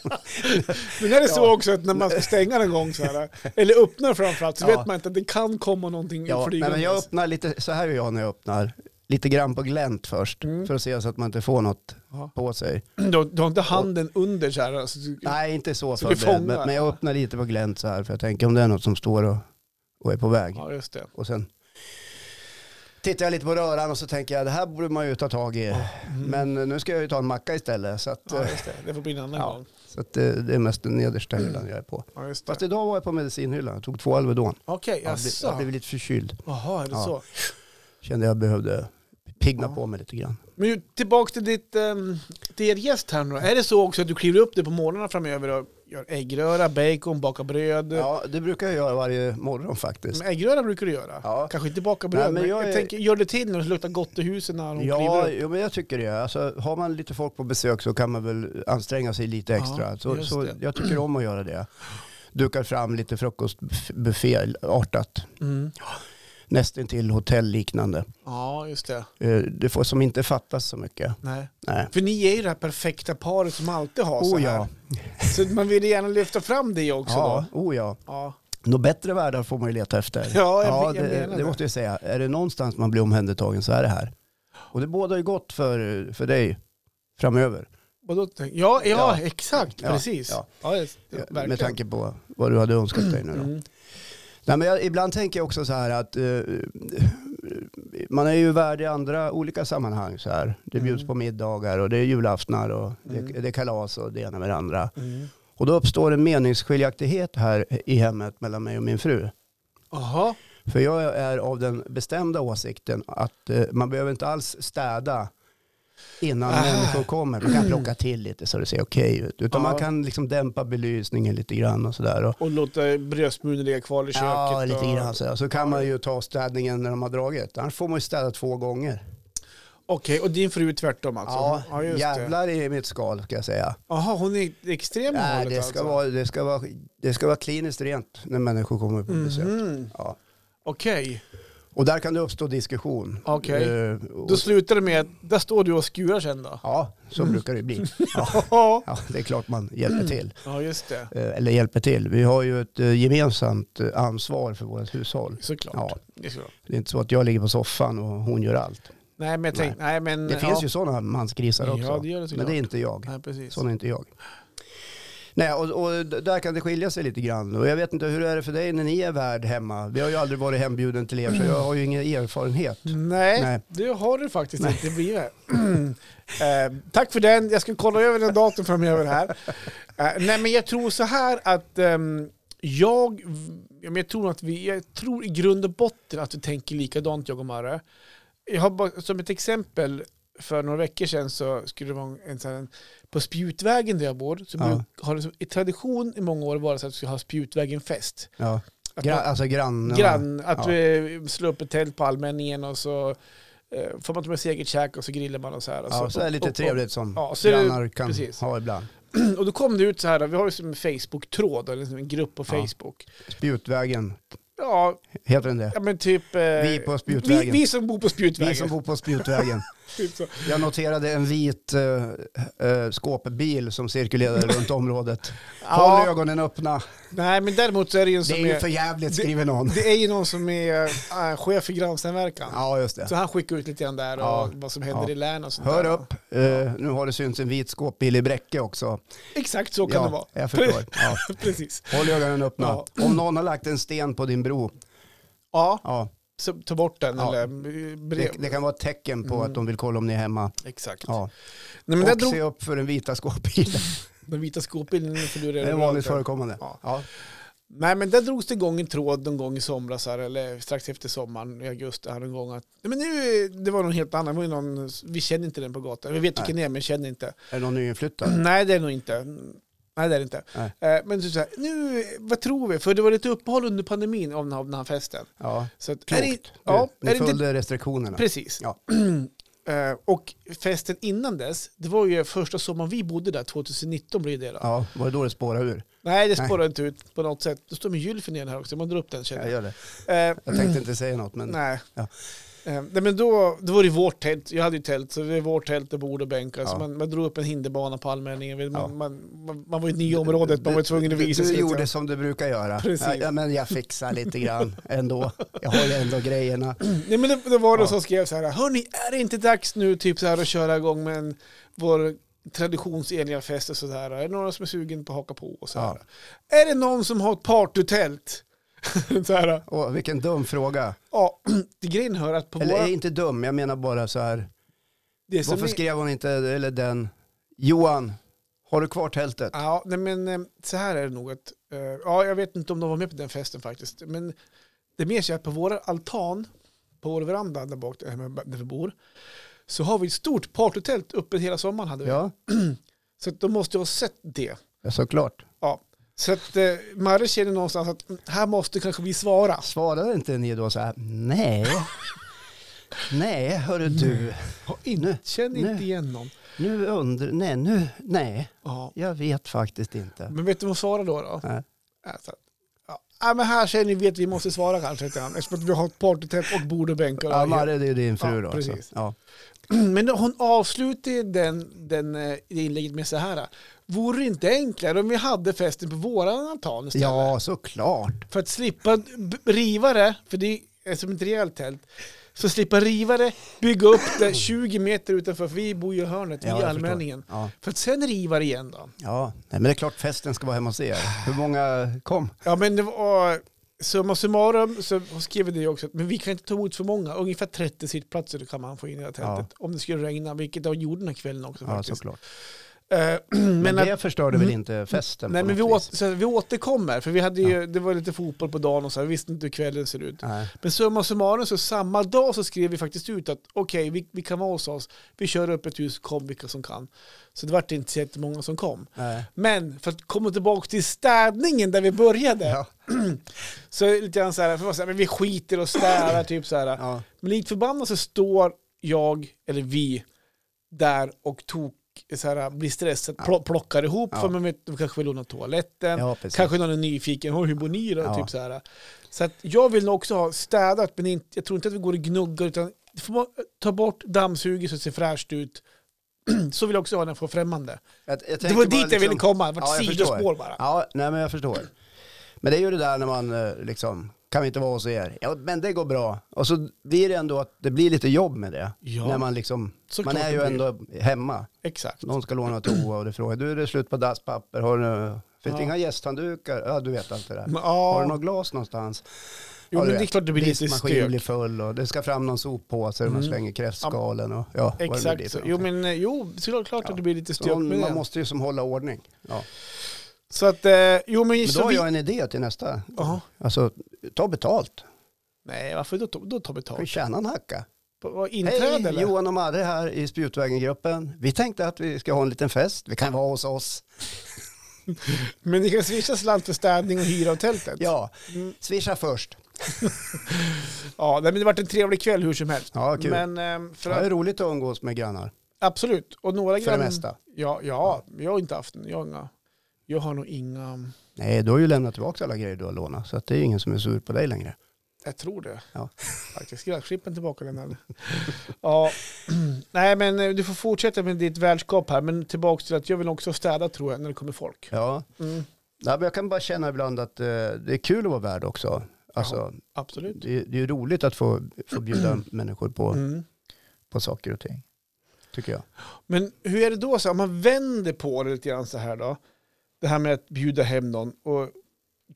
[SPEAKER 2] Men är det så
[SPEAKER 1] Ja.
[SPEAKER 2] också att när man ska stänga den en gång,
[SPEAKER 1] (laughs)
[SPEAKER 2] så här, eller öppnar framförallt, så
[SPEAKER 1] Ja.
[SPEAKER 2] vet man inte att det kan komma någonting
[SPEAKER 1] Ja, nej,
[SPEAKER 2] flygande.
[SPEAKER 1] men jag öppnar lite, så här gör jag när jag öppnar. lite grann på glänt först
[SPEAKER 2] Mm.
[SPEAKER 1] för att se så att man inte får något
[SPEAKER 2] Ja.
[SPEAKER 1] på sig.
[SPEAKER 2] Du, har- du Alltså, har inte handen under så här? Alltså, du-
[SPEAKER 1] Nej, inte så
[SPEAKER 2] Så du
[SPEAKER 1] förberedd,
[SPEAKER 2] fångar?
[SPEAKER 1] men, men jag öppnar lite på glänt så här för jag tänker om det är något som står och, och är på väg.
[SPEAKER 2] Ja, just det.
[SPEAKER 1] Och sen tittar jag lite på röran och så tänker jag det här borde man ju ta tag i.
[SPEAKER 2] Mm.
[SPEAKER 1] Men eh, nu ska jag ju ta en macka istället så, att,
[SPEAKER 2] Ja, just det. Det får bli en annan
[SPEAKER 1] Ja.
[SPEAKER 2] gång.
[SPEAKER 1] så att det, det är mest den
[SPEAKER 2] (clears throat)
[SPEAKER 1] nedersta hyllan jag är på.
[SPEAKER 2] Ja, just
[SPEAKER 1] Fast
[SPEAKER 2] det.
[SPEAKER 1] idag var jag på medicinhyllan, jag tog två Alvedon.
[SPEAKER 2] Okej,
[SPEAKER 1] Jag blev, jag
[SPEAKER 2] jaså?
[SPEAKER 1] blev lite förkyld,
[SPEAKER 2] Jaha, är det
[SPEAKER 1] Ja.
[SPEAKER 2] så?
[SPEAKER 1] kände jag behövde pigna
[SPEAKER 2] Ja.
[SPEAKER 1] på mig lite grann.
[SPEAKER 2] Men ju, tillbaka till ditt, ehm, till er gäst här nu då. Är det så också att du kliver upp det på morgnarna framöver och gör äggröra, bacon, bakar bröd?
[SPEAKER 1] Ja, det brukar jag göra varje morgon faktiskt.
[SPEAKER 2] Men äggröra brukar du göra.
[SPEAKER 1] Ja.
[SPEAKER 2] Kanske inte baka bröd,
[SPEAKER 1] Nej, men
[SPEAKER 2] men
[SPEAKER 1] jag
[SPEAKER 2] jag
[SPEAKER 1] är-
[SPEAKER 2] tänker, gör det till när det luktar gott i husen när hon
[SPEAKER 1] Ja,
[SPEAKER 2] kliver upp.
[SPEAKER 1] jo, men jag tycker det. Alltså, har man lite folk på besök så kan man väl anstränga sig lite
[SPEAKER 2] Ja,
[SPEAKER 1] extra. så,
[SPEAKER 2] just
[SPEAKER 1] så
[SPEAKER 2] det.
[SPEAKER 1] jag tycker om att göra det. Dukar fram lite frukostbuffé-artat.
[SPEAKER 2] Mm.
[SPEAKER 1] Nästintill hotellliknande.
[SPEAKER 2] Ja, just det.
[SPEAKER 1] Eh, Det får som inte fattas så mycket.
[SPEAKER 2] Nej.
[SPEAKER 1] Nej.
[SPEAKER 2] För ni är ju det här perfekta paret som alltid har så
[SPEAKER 1] Oh
[SPEAKER 2] här.
[SPEAKER 1] ja.
[SPEAKER 2] Så man vill gärna lyfta fram det också
[SPEAKER 1] Ja,
[SPEAKER 2] då.
[SPEAKER 1] oh ja.
[SPEAKER 2] Ja.
[SPEAKER 1] Något bättre världar får man ju leta efter.
[SPEAKER 2] Ja, jag- jag
[SPEAKER 1] det,
[SPEAKER 2] menar
[SPEAKER 1] det
[SPEAKER 2] det.
[SPEAKER 1] måste jag säga. Är det någonstans man blir omhändertagen så är det här. Och det bådar ju gott för, för dig framöver.
[SPEAKER 2] Och då tänk, ja, ja,
[SPEAKER 1] Ja.
[SPEAKER 2] exakt,
[SPEAKER 1] Ja,
[SPEAKER 2] precis.
[SPEAKER 1] ja.
[SPEAKER 2] Ja, det, ja, verkligen.
[SPEAKER 1] Med tanke på vad du hade önskat dig nu då.
[SPEAKER 2] Mm.
[SPEAKER 1] Nej, men jag, ibland tänker jag också så här att eh, man är ju värd i andra olika sammanhang. Så här. Det bjuds
[SPEAKER 2] Mm.
[SPEAKER 1] på middagar och det är julaftnar och det,
[SPEAKER 2] Mm.
[SPEAKER 1] det är kalas och det ena med det andra.
[SPEAKER 2] Mm.
[SPEAKER 1] Och då uppstår en meningsskiljaktighet här i hemmet mellan mig och min fru.
[SPEAKER 2] Jaha,
[SPEAKER 1] För jag är av den bestämda åsikten att eh, man behöver inte alls städa innan
[SPEAKER 2] Ah.
[SPEAKER 1] människor kommer. Man kan plocka till lite så det ser okej ut. Utan
[SPEAKER 2] Ja.
[SPEAKER 1] man kan liksom dämpa belysningen lite grann och sådär. Och,
[SPEAKER 2] och låta brödsmulen ligga kvar i köket.
[SPEAKER 1] Ja, lite
[SPEAKER 2] och,
[SPEAKER 1] grann alltså. så. Så kan man ju ta städningen när de har dragit. Annars får man ju städa två gånger.
[SPEAKER 2] Okej, och din fru är tvärtom alltså? just det.
[SPEAKER 1] jävlar i mitt skal ska jag säga.
[SPEAKER 2] Jaha, hon är extrem i
[SPEAKER 1] Nej,
[SPEAKER 2] hållet
[SPEAKER 1] det, ska
[SPEAKER 2] alltså.
[SPEAKER 1] vara, det, ska vara, det ska vara kliniskt rent när människor kommer på besök.
[SPEAKER 2] Mhm,
[SPEAKER 1] Ja.
[SPEAKER 2] Okej,
[SPEAKER 1] Och där kan det uppstå diskussion.
[SPEAKER 2] Okej.
[SPEAKER 1] Eh, och-
[SPEAKER 2] då slutar det med att där står du och skurar sen då?
[SPEAKER 1] Ja, så brukar det
[SPEAKER 2] (laughs)
[SPEAKER 1] bli. Ja,
[SPEAKER 2] Ja,
[SPEAKER 1] (laughs) ja, det är klart man hjälper till.
[SPEAKER 2] ja just det.
[SPEAKER 1] Eh, Eller hjälper till. Vi har ju ett eh, gemensamt eh, ansvar för vårt hushåll.
[SPEAKER 2] Såklart.
[SPEAKER 1] Ja.
[SPEAKER 2] Det är såklart.
[SPEAKER 1] Det är inte så att jag ligger på soffan och hon gör allt.
[SPEAKER 2] Nej, men jag tänkte, nej. men...
[SPEAKER 1] Det
[SPEAKER 2] ja.
[SPEAKER 1] finns ju sådana mansgrisar också.
[SPEAKER 2] Ja, det gör det såklart.
[SPEAKER 1] Men det är inte jag.
[SPEAKER 2] Nej, precis.
[SPEAKER 1] Sån är inte jag. Nej, och, och d- där kan det skilja sig lite grann. Och jag vet inte, hur är det för dig när ni är värd hemma? Vi har ju aldrig varit hembjuden till er, så jag har ju ingen erfarenhet.
[SPEAKER 2] Nej,
[SPEAKER 1] Nej.
[SPEAKER 2] det har du faktiskt inte blivit. (clears throat) eh, tack för den. Jag ska kolla över den datorn framöver här. Eh, nej, men jag tror så här att ehm, jag, ja, men jag, tror att vi, jag tror i grund och botten att vi tänker likadant, jag och Marre. Jag har bara, som ett exempel, för några veckor sedan så skulle det vara en, en, sån här- på Spjutvägen där jag bor, så
[SPEAKER 1] Ja.
[SPEAKER 2] bruk, har det som, i tradition i många år varit så att vi ska ha Spjutvägen-fest.
[SPEAKER 1] Ja.
[SPEAKER 2] Att
[SPEAKER 1] Gra-
[SPEAKER 2] man-
[SPEAKER 1] alltså grannarna.
[SPEAKER 2] Grann, att
[SPEAKER 1] Ja.
[SPEAKER 2] vi slår upp ett tält på allmänningen och så eh, får man ta med sig eget käk och så grillar man och så här. Och
[SPEAKER 1] Ja, så är det lite
[SPEAKER 2] alltså. och,
[SPEAKER 1] trevligt som
[SPEAKER 2] ja, så är det-
[SPEAKER 1] grannar kan
[SPEAKER 2] precis.
[SPEAKER 1] ha ibland.
[SPEAKER 2] (clears throat) Och, och då kom det ut så här, vi har ju som en Facebook-tråd, eller liksom en grupp på
[SPEAKER 1] Ja.
[SPEAKER 2] Facebook.
[SPEAKER 1] Spjutvägen,
[SPEAKER 2] Ja,
[SPEAKER 1] heter den det?
[SPEAKER 2] ja men typ... eh,
[SPEAKER 1] Vi på Spjutvägen.
[SPEAKER 2] Vi, vi som bor på Spjutvägen.
[SPEAKER 1] Vi som bor på Spjutvägen.
[SPEAKER 2] Typ
[SPEAKER 1] (laughs)
[SPEAKER 2] så.
[SPEAKER 1] Jag noterade en vit eh, eh, skåpbil som
[SPEAKER 2] (laughs)
[SPEAKER 1] cirkulerade runt området. Håll
[SPEAKER 2] Ja,
[SPEAKER 1] ögonen öppna.
[SPEAKER 2] nej men däremot så är det ju en
[SPEAKER 1] Det
[SPEAKER 2] som
[SPEAKER 1] är ju för
[SPEAKER 2] är...
[SPEAKER 1] jävligt
[SPEAKER 2] det-
[SPEAKER 1] skriver någon.
[SPEAKER 2] Det är ju någon som är äh, chef för grannsamverkan.
[SPEAKER 1] Ja, just det.
[SPEAKER 2] Så han skickar ut lite grann där och
[SPEAKER 1] Ja.
[SPEAKER 2] vad som händer
[SPEAKER 1] Ja.
[SPEAKER 2] i län och sånt
[SPEAKER 1] Hör
[SPEAKER 2] där.
[SPEAKER 1] upp, eh, nu har det synts en vit skåpbil i Bräcke också.
[SPEAKER 2] Exakt så kan
[SPEAKER 1] ja,
[SPEAKER 2] det vara. (laughs)
[SPEAKER 1] jag förstår. Ja.
[SPEAKER 2] Precis.
[SPEAKER 1] Håll ögonen öppna.
[SPEAKER 2] Ja.
[SPEAKER 1] Om någon har lagt en sten på din bro,
[SPEAKER 2] Ja,
[SPEAKER 1] ja,
[SPEAKER 2] så ta bort den
[SPEAKER 1] Ja.
[SPEAKER 2] eller eh, brev.
[SPEAKER 1] det, det kan vara ett tecken på att de vill kolla om ni är hemma.
[SPEAKER 2] Exakt.
[SPEAKER 1] Ja.
[SPEAKER 2] Nej, Mm. men där
[SPEAKER 1] Och
[SPEAKER 2] drog
[SPEAKER 1] se upp för den vita
[SPEAKER 2] (laughs)
[SPEAKER 1] skåpbilen.
[SPEAKER 2] den vita skåpbilden för du
[SPEAKER 1] Det
[SPEAKER 2] redan
[SPEAKER 1] är
[SPEAKER 2] berört
[SPEAKER 1] vanligt
[SPEAKER 2] det.
[SPEAKER 1] förekommande.
[SPEAKER 2] Ja.
[SPEAKER 1] Ja.
[SPEAKER 2] Nej men där drogs det igång en tråd någon gång i somras här, eller strax efter sommaren i augusti här någon gång att nej, men nu, det var någon helt annan, det var ju någon, vi känner inte den på gatan, vi vet vilken det är men vi
[SPEAKER 1] (clears throat)
[SPEAKER 2] känner inte.
[SPEAKER 1] Är det någon nyinflyttad?
[SPEAKER 2] Nej det är nog inte. Nej det är det inte.
[SPEAKER 1] Nej.
[SPEAKER 2] Eh, Men så så här, nu, vad tror vi? För det var lite uppehåll under pandemin av den här, av den här festen.
[SPEAKER 1] Ja.
[SPEAKER 2] Så att, är det,
[SPEAKER 1] Klokt.
[SPEAKER 2] ja,
[SPEAKER 1] du,
[SPEAKER 2] är
[SPEAKER 1] ni
[SPEAKER 2] det inte,
[SPEAKER 1] följde restriktionerna.
[SPEAKER 2] precis.
[SPEAKER 1] Ja.
[SPEAKER 2] (clears throat) Eh, Och festen innan dess, det var ju första sommaren vi bodde där, 2019 blev det då.
[SPEAKER 1] Ja, var det då det spårade ur?
[SPEAKER 2] Nej, det
[SPEAKER 1] Nej.
[SPEAKER 2] spårar inte ut på något sätt. Då står med gylfen igen här också, man drar upp den känner
[SPEAKER 1] Jag
[SPEAKER 2] jag.
[SPEAKER 1] gör det.
[SPEAKER 2] Eh,
[SPEAKER 1] Jag tänkte inte säga något, men
[SPEAKER 2] nej.
[SPEAKER 1] Ja.
[SPEAKER 2] Eh, nej, men då, då var det vårt tält. Jag hade ju tält, så det var vårt tält och bord och bänkar.
[SPEAKER 1] Ja.
[SPEAKER 2] Så man, man drog upp en hinderbana på allmänningen. Man,
[SPEAKER 1] Ja.
[SPEAKER 2] man, man, man var ju ny i området, man var ju tvungen att visa
[SPEAKER 1] Du,
[SPEAKER 2] sig.
[SPEAKER 1] du gjorde
[SPEAKER 2] liksom.
[SPEAKER 1] som du brukar göra.
[SPEAKER 2] Precis.
[SPEAKER 1] Ja, men jag fixar lite grann ändå. Jag har ju ändå grejerna.
[SPEAKER 2] Nej, men det, det var det
[SPEAKER 1] Ja.
[SPEAKER 2] som skrev så här, hörni, är det inte dags nu typ så här, att köra igång med en, vår traditionsenliga fest och sådär? Är det några som är sugen på att haka på? Och så här. Är det någon som har ett partytält? (laughs) så här,
[SPEAKER 1] Åh, vilken dum fråga.
[SPEAKER 2] ja, (clears throat) det grejen hör att på
[SPEAKER 1] Eller
[SPEAKER 2] våra...
[SPEAKER 1] är inte dum, jag menar bara så här.
[SPEAKER 2] Det som
[SPEAKER 1] Varför
[SPEAKER 2] vi-
[SPEAKER 1] skrev hon inte, eller den, Johan, har du kvar tältet?
[SPEAKER 2] Ja, nej men eh, så här är det nog att, eh, ja jag vet inte om de var med på den festen faktiskt, men det är mer så att på vår altan, på vår veranda där bak där hemma- där vi bor, så har vi ett stort partytält uppe hela sommaren hade vi.
[SPEAKER 1] Ja,
[SPEAKER 2] Så att de måste ju ha sett det.
[SPEAKER 1] ja, såklart.
[SPEAKER 2] Ja. Så att eh, Marre känner någonstans att mm, här måste kanske vi svara.
[SPEAKER 1] Svarade inte ni då så här, nej, nej, hörru du, nu,
[SPEAKER 2] Känner
[SPEAKER 1] Nej.
[SPEAKER 2] inte igen någon.
[SPEAKER 1] nu undrar, nej, nu, nej,
[SPEAKER 2] Ja.
[SPEAKER 1] jag vet faktiskt inte.
[SPEAKER 2] Men vet du vad hon svarar då? då?
[SPEAKER 1] Nej.
[SPEAKER 2] Ja, så att, ja. ja, men här känner vi att vi måste svara kanske, till honom, eftersom att vi har ett partytält och bord och bänkar. och
[SPEAKER 1] Ja, Marre, det är ju din fru
[SPEAKER 2] Ja,
[SPEAKER 1] då.
[SPEAKER 2] precis.
[SPEAKER 1] alltså. Ja.
[SPEAKER 2] (clears throat) Men hon avslutade den, den, eh, det inlägget med så här. eh, Vore det inte enklare om vi hade festen på våran altan istället?
[SPEAKER 1] ja, såklart.
[SPEAKER 2] För att slippa b- riva det, för det är som ett rejält tält. Så slippa riva det, bygga upp
[SPEAKER 1] (clears throat)
[SPEAKER 2] det 20 meter utanför, för vi bor ju i hörnet,
[SPEAKER 1] Ja,
[SPEAKER 2] vi är
[SPEAKER 1] jag förstår.
[SPEAKER 2] allmänningen.
[SPEAKER 1] Ja,
[SPEAKER 2] För att sen riva det igen då.
[SPEAKER 1] ja. Nej, men det är klart festen ska vara hemma hos
[SPEAKER 2] Ah.
[SPEAKER 1] er. Hur många kom?
[SPEAKER 2] Ja men det var, eh, summa summarum så skrev det också, att, men vi kan inte ta emot för många. Ungefär 30 sittplatser kan man få in i det här tältet. Om det skulle regna, vilket det gjorde den här kvällen också
[SPEAKER 1] Ja,
[SPEAKER 2] faktiskt.
[SPEAKER 1] såklart.
[SPEAKER 2] Eh,
[SPEAKER 1] Men,
[SPEAKER 2] men att-
[SPEAKER 1] det förstörde väl inte festen
[SPEAKER 2] Nej,
[SPEAKER 1] på
[SPEAKER 2] men vi,
[SPEAKER 1] något
[SPEAKER 2] åt,
[SPEAKER 1] vis?
[SPEAKER 2] så vi återkommer, för vi hade ju, det var lite fotboll på dagen och så här, vi visste inte hur kvällen ser ut.
[SPEAKER 1] Nej.
[SPEAKER 2] Men summa summarum, så samma dag så skrev vi faktiskt ut att okej, vi, vi kan vara hos oss, vi kör upp ett hus, kom vilka som kan. Så det vart inte så jättemånga som kom.
[SPEAKER 1] Nej.
[SPEAKER 2] Men för att komma tillbaka till städningen där vi började,
[SPEAKER 1] Ja.
[SPEAKER 2] så är det lite grann så här, för man säger, men vi skiter och städar, typ så här.
[SPEAKER 1] Ja.
[SPEAKER 2] Men likt förbannat så står jag, eller vi, där och tok, så här, blir stressad, pl- plockar ihop,
[SPEAKER 1] Ja.
[SPEAKER 2] för man vet, de kanske vill låna toaletten,
[SPEAKER 1] Ja, precis.
[SPEAKER 2] kanske någon är nyfiken, "Oj, hur bor ni då?
[SPEAKER 1] Ja.
[SPEAKER 2] Typ så, här. så att jag vill nog också ha städat, men inte, jag tror inte att vi går och gnuggar, utan det får man eh, ta bort dammsuget så det ser fräscht ut. (clears throat) så vill jag också ha när jag får främmande.
[SPEAKER 1] Jag, jag
[SPEAKER 2] Det
[SPEAKER 1] tänker
[SPEAKER 2] var
[SPEAKER 1] bara liksom-
[SPEAKER 2] dit jag ville komma, det var
[SPEAKER 1] Ja,
[SPEAKER 2] ett
[SPEAKER 1] jag
[SPEAKER 2] sidospår
[SPEAKER 1] förstår.
[SPEAKER 2] bara.
[SPEAKER 1] Ja, nej men jag förstår. Men det är ju det där när man eh, liksom, kan vi inte vara hos er? Ja, men det går bra. Och så blir det ändå att det blir lite jobb med det.
[SPEAKER 2] Ja.
[SPEAKER 1] När man liksom,
[SPEAKER 2] Såklart
[SPEAKER 1] man är
[SPEAKER 2] det
[SPEAKER 1] ju
[SPEAKER 2] blir.
[SPEAKER 1] ändå hemma.
[SPEAKER 2] Exakt.
[SPEAKER 1] Någon ska låna toa och du frågar, du är det slut på dasspapper? Har du, finns det
[SPEAKER 2] Ja.
[SPEAKER 1] inga gästhanddukar? Ja, du vet allt det där.
[SPEAKER 2] Men,
[SPEAKER 1] Har du
[SPEAKER 2] ja,
[SPEAKER 1] något glas någonstans?
[SPEAKER 2] jo,
[SPEAKER 1] Ja, du
[SPEAKER 2] men det är
[SPEAKER 1] vet.
[SPEAKER 2] klart det blir lite
[SPEAKER 1] Diskmaskinen
[SPEAKER 2] stök.
[SPEAKER 1] blir full och det ska fram någon soppåse och man
[SPEAKER 2] Mm.
[SPEAKER 1] slänger kräftskalen och ja, vad det nu blir
[SPEAKER 2] Exakt.
[SPEAKER 1] för
[SPEAKER 2] så. Jo,
[SPEAKER 1] någonting.
[SPEAKER 2] men eh, jo, såklart klart
[SPEAKER 1] Ja.
[SPEAKER 2] att det blir lite
[SPEAKER 1] Så
[SPEAKER 2] stök med
[SPEAKER 1] man,
[SPEAKER 2] det.
[SPEAKER 1] man måste ju som hålla ordning. Ja.
[SPEAKER 2] Så att, eh, jo men,
[SPEAKER 1] Men då
[SPEAKER 2] så
[SPEAKER 1] har
[SPEAKER 2] vi...
[SPEAKER 1] jag en idé till nästa.
[SPEAKER 2] Jaha.
[SPEAKER 1] Alltså, ta betalt.
[SPEAKER 2] Nej, varför då, då tar
[SPEAKER 1] Kan vi
[SPEAKER 2] betalt?
[SPEAKER 1] tjäna en hacka?
[SPEAKER 2] På- vad, Inträde
[SPEAKER 1] Hej,
[SPEAKER 2] eller?
[SPEAKER 1] Johan och Marre här i Spjutvägen-gruppen. Vi tänkte att vi ska ha en liten fest. Vi kan vara hos oss.
[SPEAKER 2] Men ni kan swisha slant för städning och hyra av tältet?
[SPEAKER 1] Ja,
[SPEAKER 2] Mm.
[SPEAKER 1] swisha först.
[SPEAKER 2] ja nej, men det vart en trevlig kväll hur som helst.
[SPEAKER 1] Ja, kul.
[SPEAKER 2] Men eh, för
[SPEAKER 1] Ja, Det
[SPEAKER 2] att,
[SPEAKER 1] är roligt att umgås med grannar.
[SPEAKER 2] absolut, och några
[SPEAKER 1] För det
[SPEAKER 2] grann...
[SPEAKER 1] mesta.
[SPEAKER 2] Ja, ja, jag har inte haft, jag har inga, jag har nog inga,
[SPEAKER 1] Nej, du har ju lämnat tillbaka alla grejer du har lånat. Så att det är ju ingen som är sur på dig längre.
[SPEAKER 2] jag tror det.
[SPEAKER 1] Ja.
[SPEAKER 2] Faktiskt, gräsklippen tillbaka den Ja, (clears throat) nej men eh, du får fortsätta med ditt värdskap här, men tillbaka till att jag vill också städa tror jag när det kommer folk.
[SPEAKER 1] Ja,
[SPEAKER 2] Mm,
[SPEAKER 1] Nej, men jag kan bara känna ibland att eh, det är kul att vara värd också. Alltså,
[SPEAKER 2] absolut.
[SPEAKER 1] det, är- det är ju roligt att få, få bjuda människor på,
[SPEAKER 2] Mm.
[SPEAKER 1] på saker och ting. Tycker jag.
[SPEAKER 2] Men hur är det då, så här, om man vänder på det lite grann så här då, det här med att bjuda hem någon, och